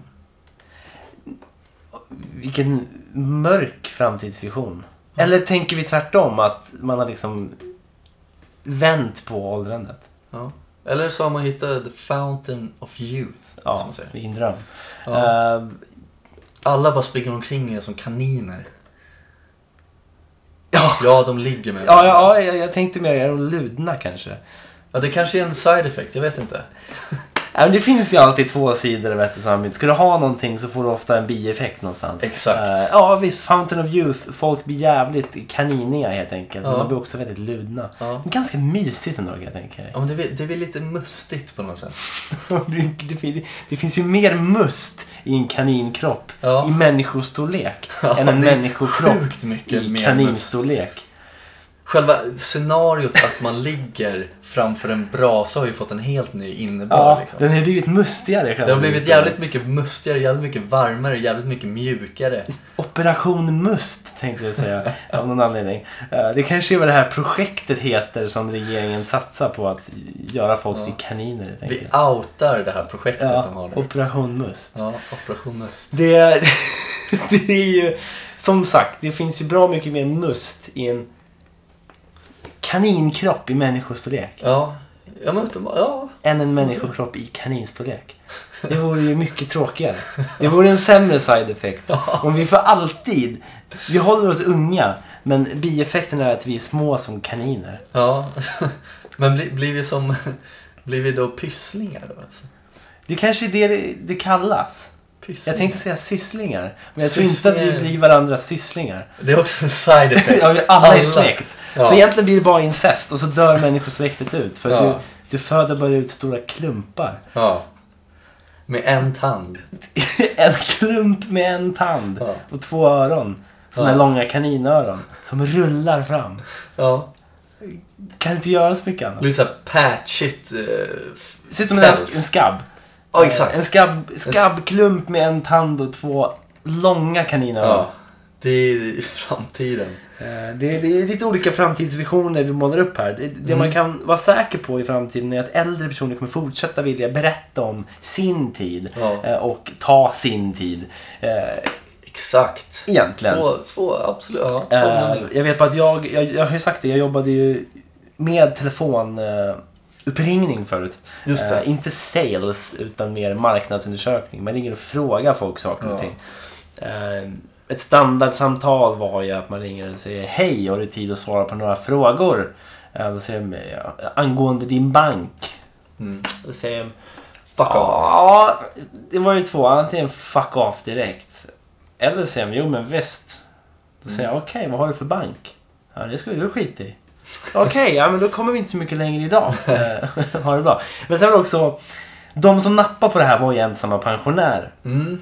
Vilken mörk framtidsvision. Eller tänker vi tvärtom att man har liksom vänt på åldrandet? Ja. Eller så har man hittat the fountain of youth. Som Ja, man säger. vilken dröm. Ja. Eh, Alla bara springer omkring er som kaniner. ja. Ja, de ligger med Ja, ja, ja, jag tänkte mer, är de ludna kanske? Ja, det kanske är en side effect, jag vet inte. Ja, men det finns ju alltid två sidor av ett och samma mynt. Ska du ha någonting så får du ofta en bieffekt någonstans. Exakt. Eh, ja visst, Fountain of Youth. Folk blir jävligt kaniniga helt enkelt. Men Ja. de blir också väldigt ludna. Ja. Ganska mysigt ändå kan jag tänka mig. Ja, men det, blir, det blir lite mustigt på något sätt. Det, det, fin- det finns ju mer must i en kaninkropp Ja. i människostorlek Ja, än en det är människokropp Sjukt mycket i mer must. kaninstorlek. Själva scenariot att man ligger framför en brasa har ju fått en helt ny innebörd. Ja, liksom. den har blivit mustigare. själva Det har blivit historien. jävligt mycket mustigare, jävligt mycket varmare, jävligt mycket mjukare. Operation Must tänkte jag säga av någon anledning. Eh, Det kanske är vad det här projektet heter som regeringen satsar på att göra folk Ja. till kaniner helt Vi enkelt. outar det här projektet de Ja, har nu. Operation Must. Ja, Operation Must. Det, det är ju, som sagt, det finns ju bra mycket mer must i en kaninkropp i människostorlek Ja, ja men uppenbarligen. Ja. än en människokropp i kaninstorlek. Det vore ju mycket tråkigare. Det vore en sämre side effect. Om vi för alltid, vi håller oss unga, men bieffekten är att vi är små som kaniner. ja. Men bli, blir vi som... Blir vi då pysslingar då? Alltså? Det kanske är det det- det kallas. Pysslingar. Jag tänkte säga sysslingar, men jag tror inte att vi Sysslingar. blir varandras sysslingar. Det är också en side effect. Ja, vi alla är släkt. Så Ja. egentligen blir det bara incest och så dör människosläktet ut. För att Ja. du, du föder bara ut stora klumpar. Ja. Med en tand. en klump med en tand Ja. och två öron. Sådana Ja. långa kaninöron som rullar fram. Ja. Kan inte göra så mycket annat. Lite såhär patchigt. eh, f- Det ser ut som en, en päls. skabb. Eh, Ja, exakt. En skabb, skabbklump med en tand och två långa kaninöron. Ja. Det är framtiden. Eh, Det, det är lite olika framtidsvisioner vi målar upp här. Det, det man kan vara säker på i framtiden är att äldre personer kommer fortsätta vilja berätta om sin tid Ja. eh, och ta sin tid. Eh, Exakt. Egentligen. Två, två absolut. Ja, två Eh, minuter. jag vet bara att jag, jag, jag har ju sagt det, jag jobbade ju med telefonuppringning förut. Just det. Eh, inte sales utan mer marknadsundersökning. Man ringer och frågar folk saker och Ja. ting. Eh, ett standardsamtal var ju att man ringer och säger Hej, har du tid att svara på några frågor? Eh, då säger de, "Ja, angående din bank. Mm. Då säger de, Fuck off. Ja, det var ju två. Antingen fuck off direkt. Eller säger de, jo men visst. Då säger jag, okej vad har du för bank? Ja, det ska ju du skita i. Okej, ja men då kommer vi inte så mycket längre idag. Eh, ha det bra. Men sen var det också, de som nappade på det här var ju ensamma pensionärer. Mm.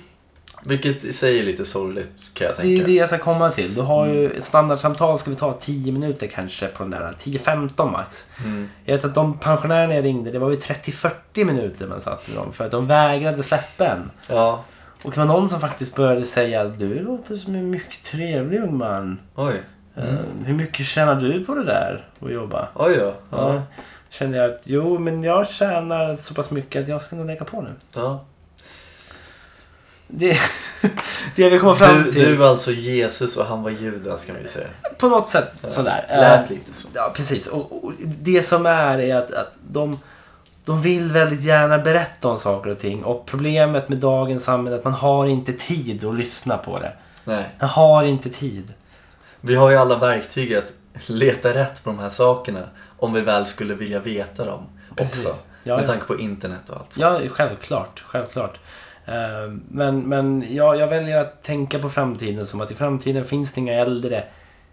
Vilket i sig är lite sorgligt kan jag Det är ju tänka. det jag ska komma till. Du har ju Mm. ett standardsamtal, ska vi ta 10 minuter kanske på den där, 10-15 max. Mm. Jag vet att de pensionärerna jag ringde, det var ju 30-40 minuter man satt med dem för att de vägrade släppa en. Ja, Och det var någon som faktiskt började säga du låter som en mycket trevlig ung man. oj. Eh, hur mycket tjänar du på det där och jobba? Oj då. Ja. Ja. Kände jag att jo, men jag tjänar så pass mycket att jag ska nog lägga på nu. Ja. Det, det jag vill komma fram Du, till. du var alltså Jesus och han var Judas kan vi säga. På något sätt sådär. Eh, Lät lite så. Ja, precis. Och, och det som är är att, att de, de vill väldigt gärna berätta om saker och ting. Och problemet med dagens samhälle är att man har inte tid att lyssna på det. Nej. Man har inte tid. Vi har ju alla verktyg att leta rätt på de här sakerna om vi väl skulle vilja veta dem Precis. också. Ja, Med ja. tanke på internet och allt sånt. Ja, självklart. självklart. Eh, Men, men jag, jag väljer att tänka på framtiden som att i framtiden finns det inga äldre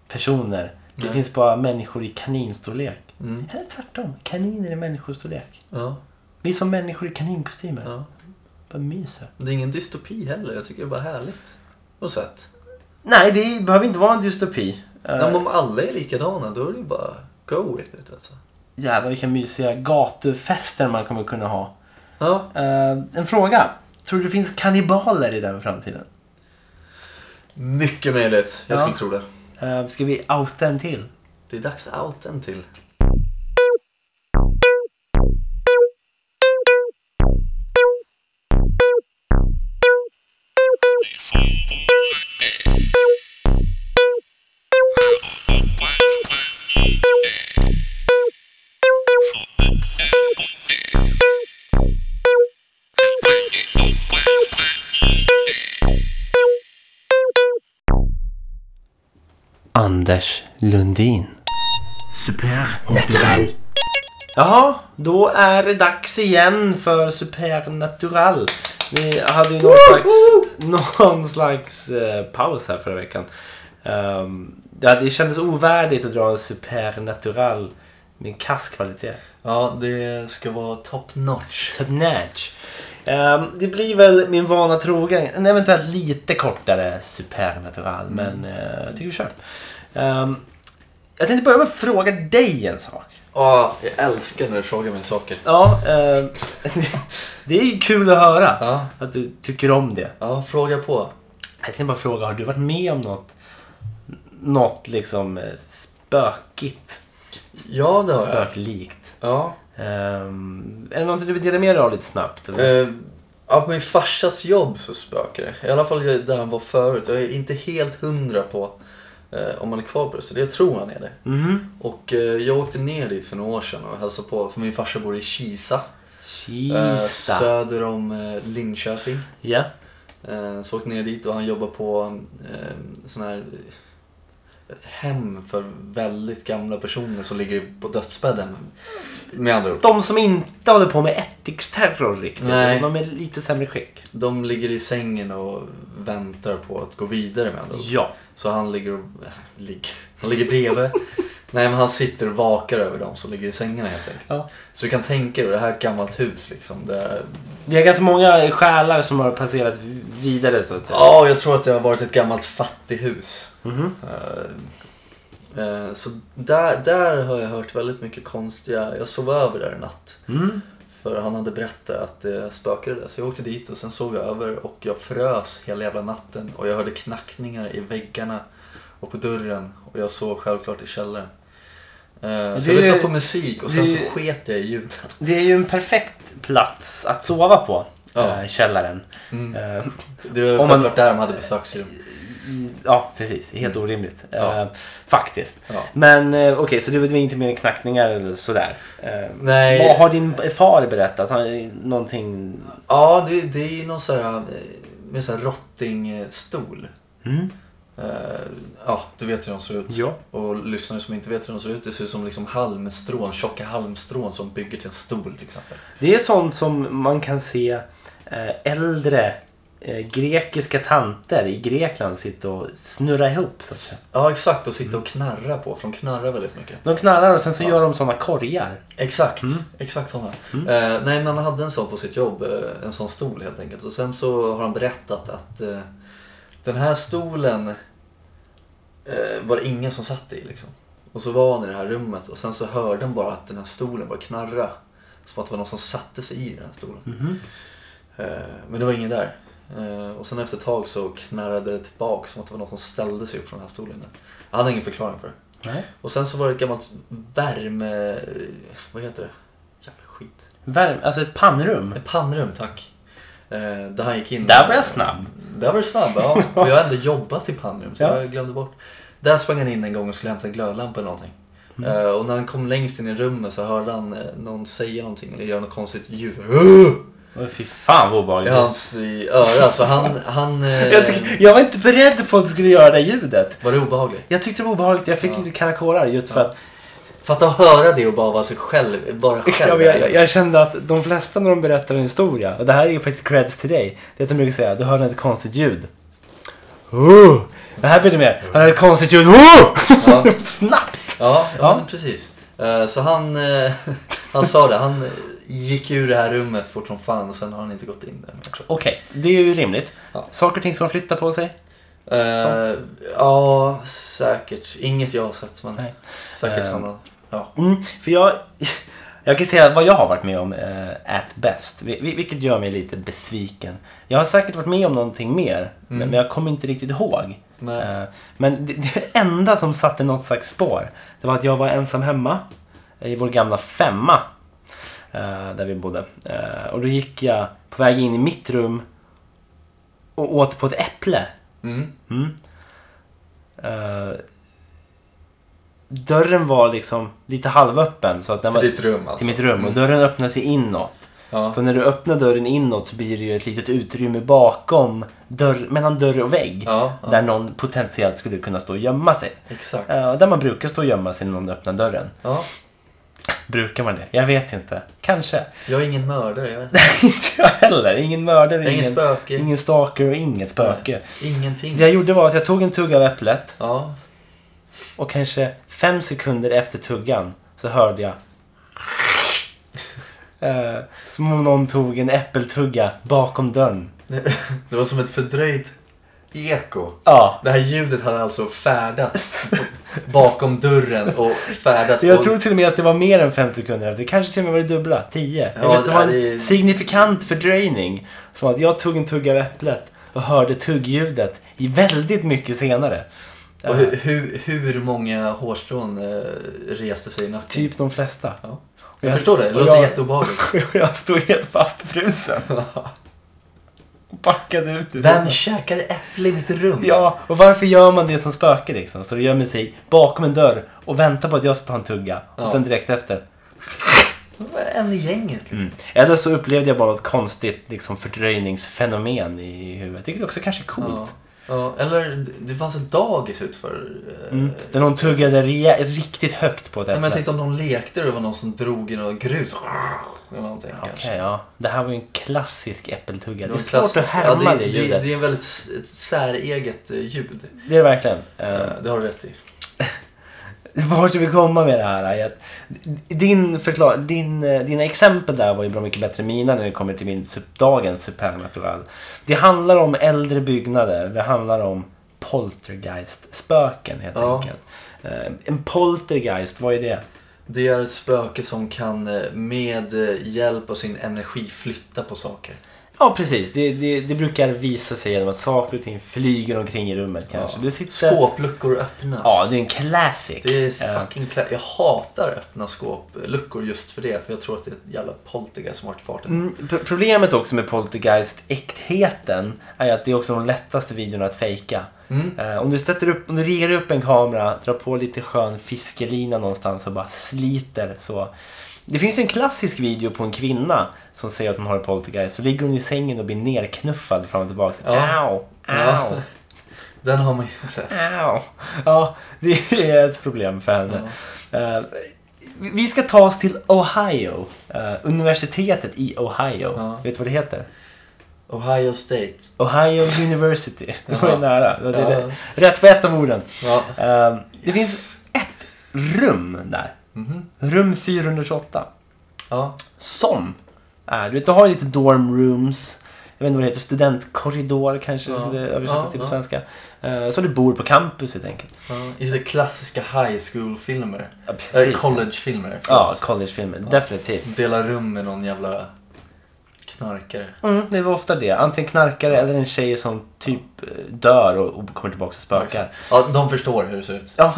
personer. Det Nej. finns bara människor i kaninstorlek. Mm. Eller tvärtom, kaniner i människostorlek. Ja, Vi är som människor i kaninkostymer. ja. Bara myser. Men Det är ingen dystopi heller. Jag tycker det är bara härligt. Och sett. Nej, det behöver inte vara en dystopi. Eh, Men om alla är likadana då är det ju bara go with it alltså. Jävlar vilka mysiga gatufester man kommer kunna ha. Ja. Eh, En fråga. Tror du det finns kannibaler i den framtiden? Mycket möjligt. Jag Ja. skulle tro det. Eh, Ska vi outa en till? Det är dags att outa en till. Anders Lundin. Supernatural. Jaha, då är det dags igen för Supernatural. Vi hade ju någon slags, någon slags eh, paus här förra veckan. Ehm, ja, det kändes ovärdigt att dra en Supernatural med en kass kvalitet. Ja, det ska vara top notch. Top notch. Ehm, det blir väl min vana trogen en eventuellt lite kortare Supernatural. Men eh, jag tycker vi kör. Ehm, Jag tänkte börja med att fråga dig en sak. Åh, jag älskar när du frågar mig saker. Ja, eh, det är ju kul att höra Ja, att du tycker om det. ja fråga på. Jag tänkte bara fråga, har du varit med om något, något liksom eh, spökigt? Ja, det har jag. Spöklikt? Ja. Um, är det någonting du vill dela med dig av lite snabbt? Eller? Eh, ja, på min farsas jobb så spökar det. I alla fall där han var förut. Jag är inte helt hundra på eh, om han är kvar på det, så jag tror han är det. Mhm. Och eh, jag åkte ner dit för några år sedan och hälsade på, för min farsa bor i Kisa. eh, Kista. söder om eh, Linköping. Ja. Eh, så åkte ner dit och han jobbar på eh, sån här eh, hem för väldigt gamla personer som ligger på dödsbädden. Med andra ord. De som inte håller på med ättiksterror riktigt. Nej. De är lite sämre skick. De ligger i sängen och väntar på att gå vidare med andra ord. Ja. Så han ligger och... Äh, ligger. Han ligger bredvid. Nej men han sitter och vakar över dem som ligger i sängarna helt enkelt. Ja. Så du kan tänka dig, det här är ett gammalt hus liksom. Det är... Det är ganska många själar som har passerat vidare så att säga. Ja, jag tror att det har varit ett gammalt fattighus. Mhm. Eh, eh, Så där, där har jag hört väldigt mycket konstiga... Jag sov över där en natt. Mm. För han hade berättat att det spökade där. Så jag åkte dit och sen sov jag över och jag frös hela jävla natten. Och jag hörde knackningar i väggarna och på dörren. Och jag sov självklart i källaren. Eh, Så Det- jag lyssnade på musik och sen så det- sket jag i ljuden. Det är ju en perfekt plats att sova på. Ja. eh, Källaren. Mm. Eh, Det var Om man- självklart där de hade besöksrum. i- Ja, precis. Helt orimligt. Mm. Ja. Eh, Faktiskt. Ja. Men eh, okej, så det var inte mer än knackningar eller sådär? Eh, Nej. Vad har din far berättat? Har någonting... Ja, det, det är ju någon sån här, eh, med en sån här rottingstol. Mm. Eh, ja, du vet hur de ser ut. Ja. Och lyssnare som inte vet hur de ser ut, det ser ut som liksom halmstrån, tjocka halmstrån som bygger till en stol till exempel. Det är sånt som man kan se eh, äldre eh, grekiska tanter i Grekland sitta och snurra ihop. Så att säga. Ja, exakt. Mm. Och sitta och knarra på, för de knarrar väldigt mycket. De knarrar och sen så gör de såna korgar. Exakt, exakt sådana. Eh, nej, men han hade en sån på sitt jobb, eh, en sån stol helt enkelt. Och sen så har han berättat att eh, den här stolen eh, var det ingen som satt i liksom. Och så var han i det här rummet och sen så hörde han bara att den här stolen började knarra. Som att det var någon som satte sig i den här stolen. Eh, men det var ingen där. Eh, och sen efter ett tag så knarrade det tillbaka som att det var någon som ställde sig upp från den här stolen. Där. Jag hade ingen förklaring för det. Nej. Och sen så var det ett gammalt värme... eh, Vad heter det? Jävla skit. Värm, alltså ett pannrum. Ett pannrum, tack. Eh, Där han gick in. Där var jag snabb. Där var du snabb, ja. Och jag hade jobbat i pannrum så Ja. jag glömde bort. Där sprang han in en gång och skulle hämta en glödlampa eller någonting. Mm. Eh, Och när han kom längst in i rummet så hörde han eh, någon säga någonting eller göra något konstigt ljud. Uh! Åh, fy fan vad I obehagligt. hans i öra. Så han... han eh, Jag, tyck- jag var inte beredd på att du skulle göra det ljudet. Var det obehagligt? Jag tyckte det var obehagligt. Jag fick lite karakårar just för att Fatta att höra det och bara vara sig själv. Bara själv. jag, jag, jag kände att de flesta när de berättar en historia, och det här är ju faktiskt creds till dig, det är att de brukar säga du hörde ett konstigt ljud. Oh! Det här blir det mer, hörde ett konstigt ljud. Oh! Ja. Snabbt! Ja, ja, Ja. Men precis. Eh, Så han, eh, han sa det, han eh, gick ur det här rummet fort som fan och sen har han inte gått in där. mer, tror Okej, det är ju rimligt. Ja. Saker och ting som flyttar på sig. jag. Eh, Ja, säkert. Inget jag har sett men Nej. säkert Eh. han har. Ja. Mm, för jag, jag kan säga vad jag har varit med om eh, at best, vi- vi- vilket gör mig lite besviken. Jag har säkert varit med om någonting mer, men- men jag kommer inte riktigt ihåg. Nej. Eh, men det, det enda som satte något slags spår, det var att jag var ensam hemma i vår gamla femma eh, där vi bodde. Eh, och då gick jag på väg in i mitt rum och åt på ett äpple. Mm. Mm. Eh, dörren var liksom lite halvöppen. Så att den var Till ditt rum alltså. till mitt rum och dörren öppnas ju inåt. Ja. Så när du öppnar dörren inåt så blir det ju ett litet utrymme bakom dörr, mellan dörr och vägg. Ja, ja. Där någon potentiellt skulle kunna stå och gömma sig. Exakt. Eh, där man brukar stå och gömma sig när någon öppnar dörren. Ja. Brukar man det? Jag vet inte. Kanske. Jag är ingen mördare, jag vet. inte jag heller. Ingen mördare, Ingen ingen, spöke. ingen stalker och inget spöke. Ingenting. Det jag gjorde var att jag tog en tugga av äpplet Ja. Och kanske fem sekunder efter tuggan så hörde jag eh, som om någon tog en äppeltugga bakom dörren. Det var som ett fördröjt eko. Ja. Det här ljudet har alltså färdats bakom dörren och färdats. Jag och- tror till och med att det var mer än fem sekunder efter. Det kanske till och med var det dubbla, tio. Jag Ja, vet, att det var det är- en signifikant fördröjning. Som att jag tog en tugga av äpplet och hörde tuggljudet i väldigt mycket senare. Eh, Och hur, hur, hur många hårstrån eh, reste sig i natten? Typ de flesta. Ja. Och Jag förstår det, det och låter jag- jätteobehagligt. Jag stod helt fastfrusen. Och backade ut ur Vem rummet. käkar äpple i mitt rum? Ja, och varför gör man det som spöke liksom? Så det gömmer sig bakom en dörr och väntar på att jag ska ta en tugga. Ja. Och sen direkt efter. En i gänget liksom. Mm. Eller så upplevde jag bara något konstigt liksom, fördröjningsfenomen i huvudet. Vilket också kanske är Ja. coolt. Ja, eller det- det fanns ett dagis utför. eh, Mm. Där någon tuggade rejä- riktigt högt på ett Nej, Eh, men äpple. jag Okej, tänkte om de lekte och det var någon som drog i något grus. Eller någonting kanske. ja. Det här var ju en klassisk äppeltugga. Det är var svårt klassiskt. att härma Ja, det, det, det, ljudet. Det, det är väldigt s- ett säreget eh, ljud. är det verkligen. Eh, Eh, Det har du rätt i. Vart vill vi komma med det här? är att Din förklar, din, eh, dina exempel där var ju bra mycket bättre än mina när det kommer till min sup- dagens supernatural. Det handlar om äldre byggnader. Det handlar om poltergeist-spöken helt Ja. enkelt. Eh, En poltergeist, vad är det? Det är ett spöke som kan eh, med eh, hjälp av sin energi flytta på saker. Ja, precis. Det, det, det brukar visa sig genom att saker och ting flyger omkring i rummet kanske. Ja. Du sitter... Skåpluckor öppnas. Ja, det är en classic. Det är Eh, fucking klä- Jag hatar öppna skåpluckor just för det. För jag tror att det är ett jävla poltergeist som har varit i farten. Mm, p- Problemet också med poltergeist-äktheten är ju att det är också de lättaste videorna att fejka. Mm. Eh, om, du sätter upp, om du riggar upp en kamera, drar på lite skön fiskelina någonstans och bara sliter så. Det finns ju en klassisk video på en kvinna som säger att hon har poltergeist. Så ligger hon i sängen och blir nerknuffad fram och tillbaka. Ja. Au, Ja. au, Den har man ju sett. au. Ja, det är ett problem för henne. Eh, vi- vi ska ta oss till Ohio. Eh, universitetet i Ohio. Ja. Vet du vad det heter? Ohio State. Ohio University. Det var ju Ja. nära. Det är Ja. rätt- Rätt på ett av orden. Ja. Eh, Det finns ett rum där. Mhm. Rum 428. ja. Som är, du vet, du har ju lite dorm rooms. Jag vet inte vad det heter, studentkorridor kanske Ja. skulle det översättas Ja, till på ja. svenska. Eh, Så du bor på campus helt enkelt. ja. I så klassiska high school-filmer. Ja, Eller college-filmer. Ja, förlåt. collegefilmer. Definitivt. Dela rum med någon jävla knarkare. Mm, det var ofta det. Antingen knarkare eller en tjej som typ eh, dör och, och kommer tillbaka och spökar. Ja, de förstår hur det ser ut. Ja.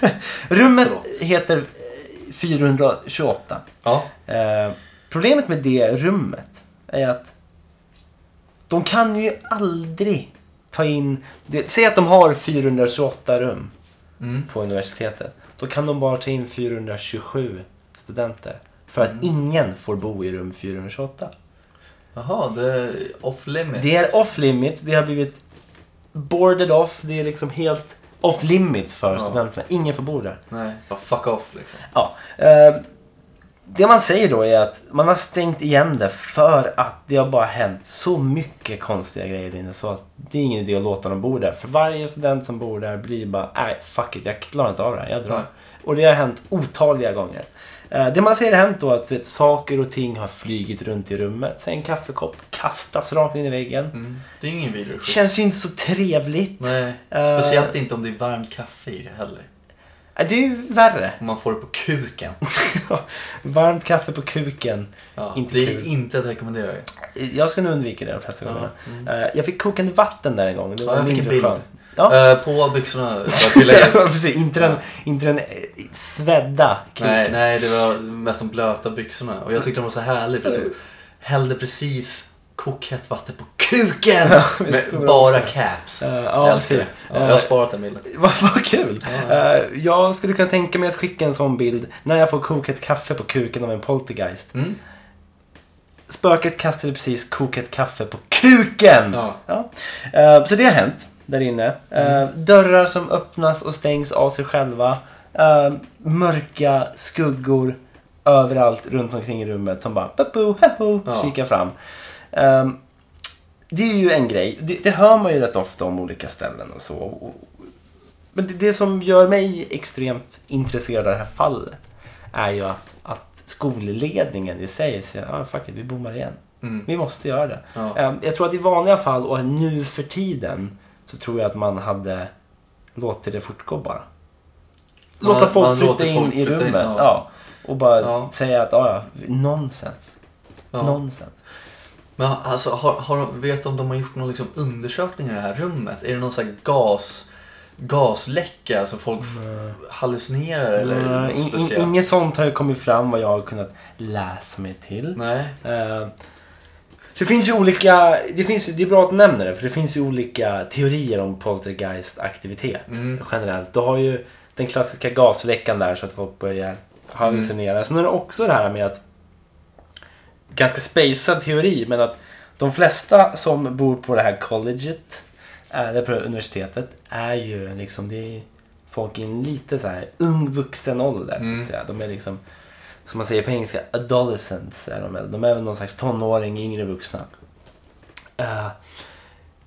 Rummet Förlåt. heter eh, 428. Ja. Eh, problemet med det rummet är att de kan ju aldrig ta in... Det, säg att de har 428 rum Mm. på universitetet. Då kan de bara ta in 427 studenter. För Mm. att ingen får bo i rum 428. Jaha, det är off limit. Det är off limits, det har blivit boarded off, det är liksom helt off limits för Ja. studenterna. Ingen får bo där. Nej, bara fuck off liksom. Ja. Eh, det man säger då är att man har stängt igen det för att det har bara hänt så mycket konstiga grejer där inne så att det är ingen idé att låta dem bo där. För varje student som bor där blir bara, nej fuck it, jag klarar inte av det här, jag drar. Nej. Och det har hänt otaliga gånger. Eh, Det man säger har hänt då är att du vet, saker och ting har flygit runt i rummet. Sen en kaffekopp kastas rakt in i väggen. Mm. Det är ingen vidare skit. Känns ju inte så trevligt. Nej, Eh. speciellt inte om det är varmt kaffe i det heller. Äh, Det är ju värre. Om man får det på kuken. Varmt kaffe på kuken. Ja, Inte det är kul. inte att rekommendera. det. Jag ska nog undvika det de flesta Ja, mm. gångerna. Eh, Jag fick kokande vatten där en gång. Det Ja, var jag fick en mindre bild. skönt. Ja. Eh, på byxorna ska tilläggas. Precis, inte den, inte den eh, svedda kuken. nej, nej, det var mest de blöta byxorna. Och jag tyckte de var så härliga för så hällde precis kokhett vatten på kuken! med med stora bara byxor. caps. Eh, jag ja, älskar det. precis. Ja, jag har sparat den bilden. Vad vad kul! Ja. Eh, Jag skulle kunna tänka mig att skicka en sån bild när jag får kokat kaffe på kuken av en poltergeist. Mm. Spöket kastade precis kokat kaffe på kuken! Ja. Mm. Ja. Eh, Så det har hänt där inne. Eh, Dörrar som öppnas och stängs av sig själva. Eh, Mörka skuggor överallt runt omkring i rummet som bara bo, ho, Ja. kikar fram. Eh, Det är ju en grej. Det, det hör man ju rätt ofta om olika ställen och så. Och- Men det, det som gör mig extremt intresserad av det här fallet är ju att, att skolledningen i sig säger ah, fuck it, vi bommar igen. Mm. Vi måste göra det. Ehm, Ja. Eh, Jag tror att i vanliga fall och nu för tiden så tror jag att man hade låtit det fortgå bara. Man- Låta folk man flytta låter in folk i flytta in, rummet. ja. ja. Och bara Ja. säga att, ja, ja, nonsens. Ja. Nonsens. Men alltså, har, har, de- vet du om de har gjort någon liksom undersökning i det här rummet? Är det någon sån här gas, gasläcka så folk f- hallucinerar eller är det Mm, något in- in- speciellt? Inget sånt har ju kommit fram vad jag har kunnat läsa mig till. Nej. Eh, Det finns ju olika, det, finns, ju- det är bra att nämna det för det finns ju olika teorier om poltergeistaktivitet Mm. generellt. Du har ju den klassiska gasläckan där så att folk börjar hallucinera. Mm. Sen är det också det här med att, ganska spacad teori, men att de flesta som bor på det här colleget, eh, eller på universitetet, är ju liksom, det är folk i en lite så här ung vuxen ålder så Mm. att säga. De är liksom som man säger på engelska, adolescents är de väl. De är väl någon slags tonåring, yngre vuxna. Eh,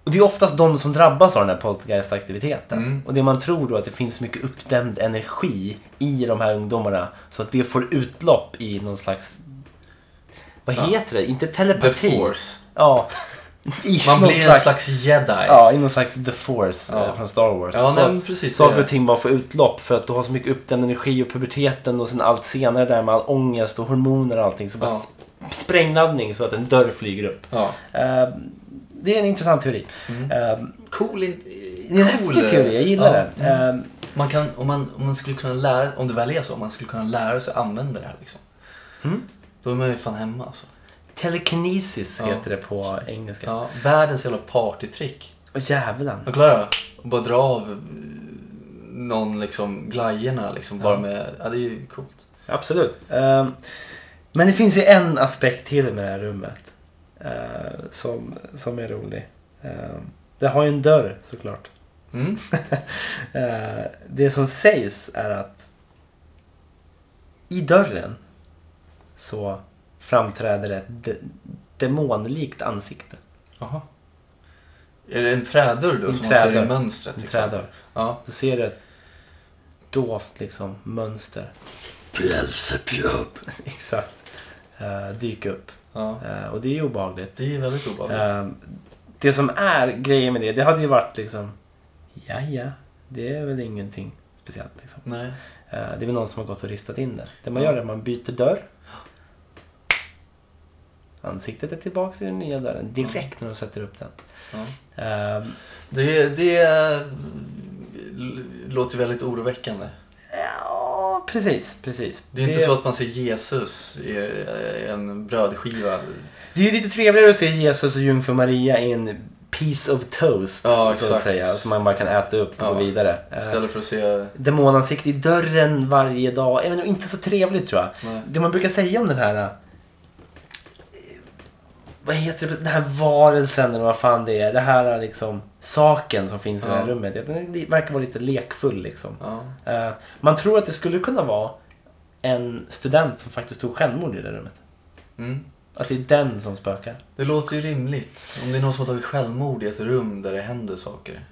och det är oftast de som drabbas av den här poltergeistaktiviteten. Mm. Och det man tror då är att det finns mycket uppdämd energi i de här ungdomarna. Så att det får utlopp i någon slags, vad Ja. heter det? Inte The telepati. force. Ja. I Man någon blir en slags jedi. Ja, i någon slags the force Ja. eh, från Star Wars. Ja, Så- nej, men precis. Saker och Det. ting bara får utlopp för att du har så mycket uppdämd energi och puberteten och sen allt senare där med all ångest och hormoner och allting. Så bara Ja. sp- sprängladdning så att en dörr flyger upp. Ja. Eh, det är en intressant teori. Mm. Eh, Cool, in, det är en cool, häftig teori, jag gillar ja. den. Eh, Man kan, om, man, om man skulle kunna lära, om det väl är så, om man skulle kunna lära sig använda det här liksom. Mm. Då är man ju fan hemma alltså. telekinesis Ja. heter det på engelska. Ja, världens jävla partytrick. Och djävulen. Men kolla då. Och bara dra av eh, någon liksom glajjorna liksom bara med, ja det är ju coolt. Absolut. Eh, men det finns ju en aspekt till med det här rummet. eh, som, som är rolig. Eh, det har ju en dörr såklart. Mm. Eh, det som sägs är att i dörren så framträder ett de- demonlikt ansikte. Jaha. Är det en trädörr då En som man ser trädörr. i mönstret? En liksom? trädörr. Ja. Då ser du ett dovt liksom, mönster. Bjälsepjöp. Exakt. Eh, dyka upp. Ja. Eh, och det är ju obehagligt. Det är väldigt obehagligt. Eh, det som är grejen med det, det hade ju varit liksom... Ja, ja. Det är väl ingenting speciellt liksom. Nej. Eh, Det är väl någon som har gått och ristat in det. Det man Ja. gör är att man byter dörr. Ansiktet är tillbaka i den nya dörren direkt när de sätter upp den. Ja. Eh, Det, det eh, l- låter väldigt oroväckande. Ja, precis, precis. Det är inte så att man ser Jesus i eh, en brödskiva. det är ju lite trevligare att se Jesus och jungfru Maria i en piece of toast. Ja, så att exakt. säga. Som man bara kan äta upp och Ja. gå vidare. Eh, Istället för att se... Demonansikte i dörren varje dag. Även inte så trevligt tror jag. Nej. Det man brukar säga om den här... eh, Vad heter det? Den här varelsen eller vad fan det är. Det här är liksom saken som finns i det här Ja. rummet. Den li- verkar vara lite lekfull liksom. Ja. Eh, Man tror att det skulle kunna vara en student som faktiskt tog självmord i det rummet. Mm. Att det är den som spökar. Det låter ju rimligt. Om det är någon som har tagit självmord i ett rum där det händer saker.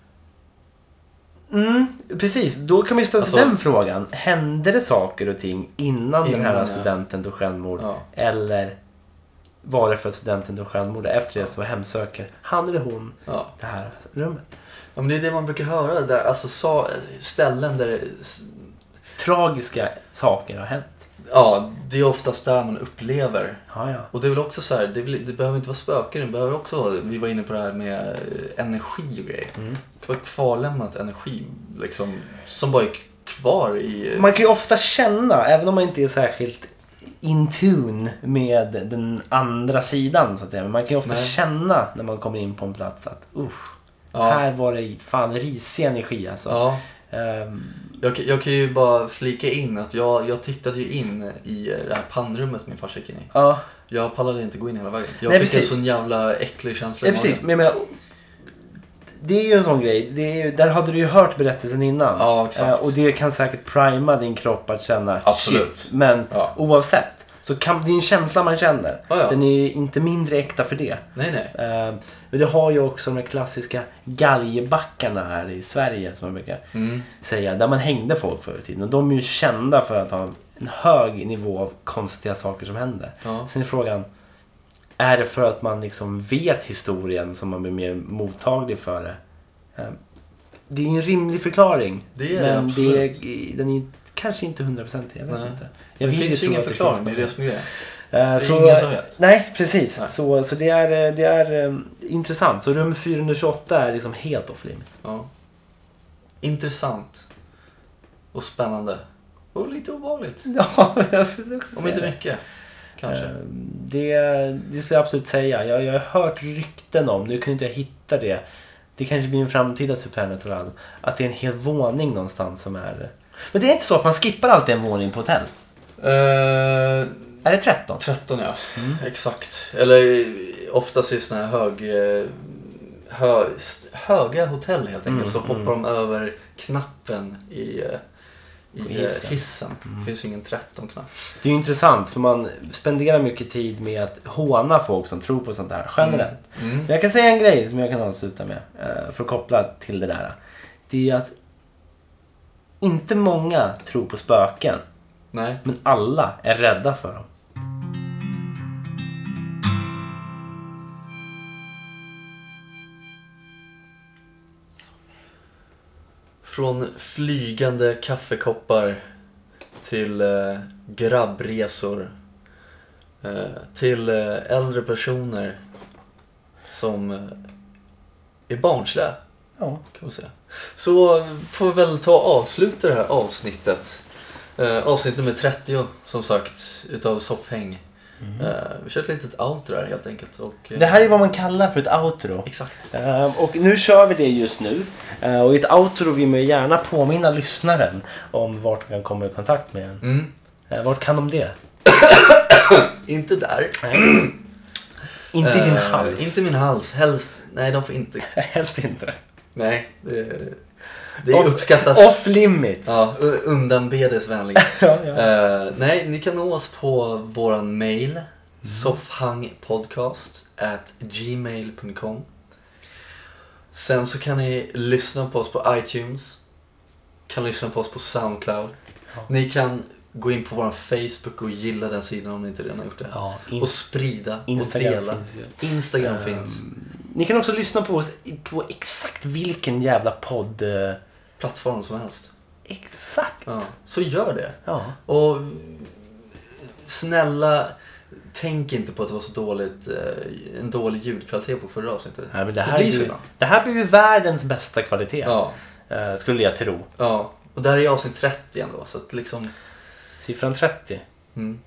Mm, precis. Då kan man ju ställa sig Alltså- den frågan. Hände det saker och ting innan, den Innan, här ja. studenten tog självmord? Ja. Eller var det för att studenten tog självmord? Efter det så hemsöker han eller hon Ja. det här rummet. ja men det är det man brukar höra där. Alltså sa, ställen där det... s- Tragiska saker har hänt. Ja, det är oftast där man upplever. Ja, ja. Och det är väl också så här, det, är väl, det behöver inte vara spöken. Det behöver också vara, vi var inne på det här med eh, energi och grejer. Mm. Det var kvarlämnat energi liksom. Som bara är kvar i... Man kan ju ofta känna, även om man inte är särskilt in tune med den andra sidan så att säga. Men man kan ju ofta Nej. känna när man kommer in på en plats att usch, ja. här var det fan risig energi alltså. ja. Ehm, Jag, kan- jag kan ju bara flika in att jag, jag tittade ju in i det här pannrummet min farsa gick in i. ja. Jag pallade inte gå in hela vägen. Jag Nej, fick precis. en sån jävla äcklig känsla Ja, i precis. magen. Men jag menar, det är ju en sån grej. Det är ju, där hade du ju hört berättelsen innan. Ja, exakt. Eh, och det kan säkert prima din kropp att känna Absolut. shit. Men Ja. oavsett. Så kan, det är en känsla man känner. Ja, ja. Den är ju inte mindre äkta för det. Nej, nej. Eh, men det har ju också de här klassiska galgebackarna här i Sverige som man brukar Mm. säga. Där man hängde folk förr i tiden. Och de är ju kända för att ha en hög nivå av konstiga saker som händer. Ja. Sen är frågan, är det för att man liksom vet historien som man blir mer mottaglig för det? Eh, Det är ju en rimlig förklaring. Det är det, men det absolut. är, den är kanske inte hundraprocentig. Jag vet Nej. inte. Jag Det vill ju finns ju tro ingen att det förklaring, finns det är något. det som är grejen. Eh, Det så- är ingen som vet. Nej, precis. Nej. Så, så det är, eh, det är eh, intressant. Så rum 428 är liksom helt off limit. Ja. Intressant. Och spännande. Och lite obehagligt. Ja, jag skulle också Om inte mycket, kanske. Eh, Det, det skulle jag absolut säga. Jag, jag har hört rykten om, nu kunde inte jag hitta det. Det kanske blir en framtida supernatural. Att det är en hel våning någonstans som är... Men det är inte så att man skippar alltid en våning på hotell? Eh, Är det 13? 13 ja, exakt. Eller eh, oftast i såna här hög, eh, hö, st- höga hotell helt enkelt så hoppar de över knappen i, eh, På i eh, hissen. hissen. Det finns ingen 13-knapp. Det är ju intressant för man spenderar mycket tid med att håna folk som tror på sånt här generellt. Mm. Men jag kan säga en grej som jag kan avsluta med eh, för att koppla till det där. Det är att inte många tror på spöken, Nej. men alla är rädda för dem. Från flygande kaffekoppar till eh, grabbresor. Eh, till eh, äldre personer som eh, är barnsliga, Ja. kan man säga. Så eh, får vi väl ta och avsluta det här avsnittet. Eh, avsnitt nummer 30, som sagt, utav Soffhäng. Eh, vi kör ett litet outro här helt enkelt. Och, eh, Mm. Det här är vad man kallar för ett outro. Exakt. Ehm, Och nu kör vi det just nu. Ehm, Och i ett outro vill man ju gärna påminna lyssnaren om vart de kan komma i kontakt med en. Mm. Ehm, Vart kan de det? Inte där. Inte i din Eh, hals. Inte min hals. Helst. Nej, de får inte Helst inte. Nej, det, det uppskattas. Off limits. Alltså- Ja, u- undanbedes vänligen. Ja, ja. Eh, nej, ni kan nå oss på våran mail. Mm. Soffhangpodcast at gmail.com Sen så kan ni lyssna på oss på iTunes. Kan lyssna på oss på Soundcloud. Ja. Ni kan gå in på vår Facebook och gilla den sidan om ni inte redan har gjort det. Ja, in- och sprida Instagram och dela. finns ju. Instagram Ehm, finns. Ni kan också lyssna på oss i- på exakt vilken jävla podd. eh, Plattform som helst. Exakt. Ja, så gör det. Ja. Och snälla, tänk inte på att det var så dåligt, eh, en dålig ljudkvalitet på förra avsnittet. Nej, men det, här blir så är ju, ibland. det här blir ju världens bästa kvalitet. Ja, eh, Skulle jag tro. ja. Och där är jag avsnitt 30 ändå, så att liksom... Siffran 30. Mm.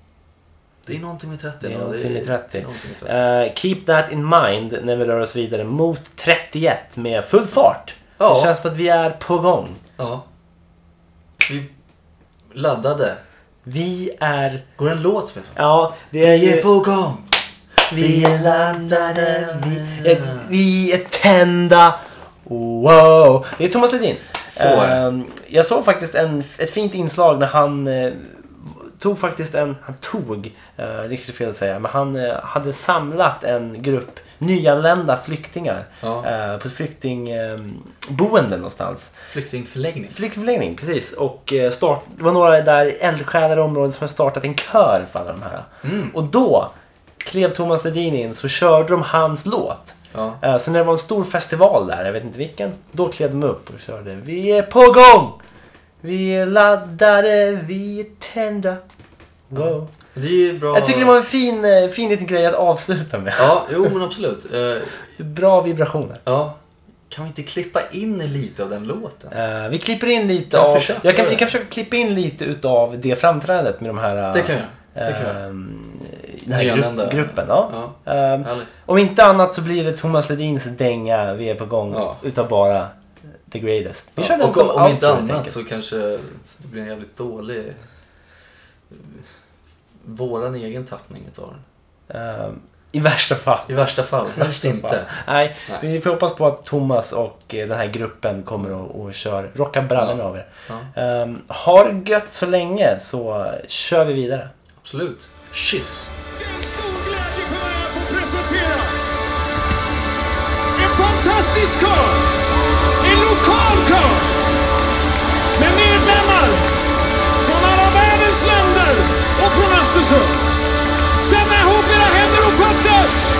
Det är någonting med 30 Det är ändå. någonting med 30. det är någonting med 30. Eh, keep that in mind när vi rör oss vidare mot 31 med full fart. Ja. Det känns som att vi är på gång. Ja. Vi laddade. Vi är... Går det en låt med? Ja, det är ju... på gång! Vi är laddade, vi är, vi är tända. Wow! Det är Thomas Ledin. Så är det. Ehm, Jag såg faktiskt en, ett fint inslag när han eh, tog faktiskt en, han tog, eh, det är kanske är fel att säga, men han eh, hade samlat en grupp nyanlända flyktingar Ja. eh, på ett flyktingboende någonstans. Flyktingförläggning. Flyktingförläggning, precis. Och eh, start, det var några där eldsjälar i området som hade startat en kör för alla de här. Mm. Och då klev Thomas Ledin in så körde de hans låt. Ja. Eh, Så när det var en stor festival där, jag vet inte vilken, då klev de upp och körde Vi är på gång! Vi är laddade, vi är tända. Wow. Det är ju bra... Jag tycker det var en fin, eh, fin liten grej att avsluta med. Ja, jo men absolut. Eh, Bra vibrationer. ja. Kan vi inte klippa in lite av den låten? Eh, vi klipper in lite Jag av... försöker Jag kan, göra vi det. kan försöka klippa in lite utav det framträdandet med de här... eh, Det kan jag göra. Det kan jag göra. ehm, den här Nyanlända. grupp, gruppen. Ja. Ja, Ehm, härligt. om inte annat så blir det Thomas Ledins dänga vi är på gång Ja. utav bara the greatest. Vi kör Ja, den och som om inte outro, helt annat enkelt. så kanske det blir en jävligt dålig... eh, Våran egen tappning utav den. Ehm, I värsta fall. I värsta fall, helst inte. Nej, Nej. vi får hoppas på att Thomas och eh, den här gruppen kommer och, och kör, rockar brallorna av er. Ja, Ehm, ha det gött så länge så kör vi vidare. absolut. Kyss! Det är en stor glädje för mig att få presentera en fantastisk kör! En lokal kör! Med medlemmar från alla världens länder och från Östersund. Samla ihop era händer och fötter!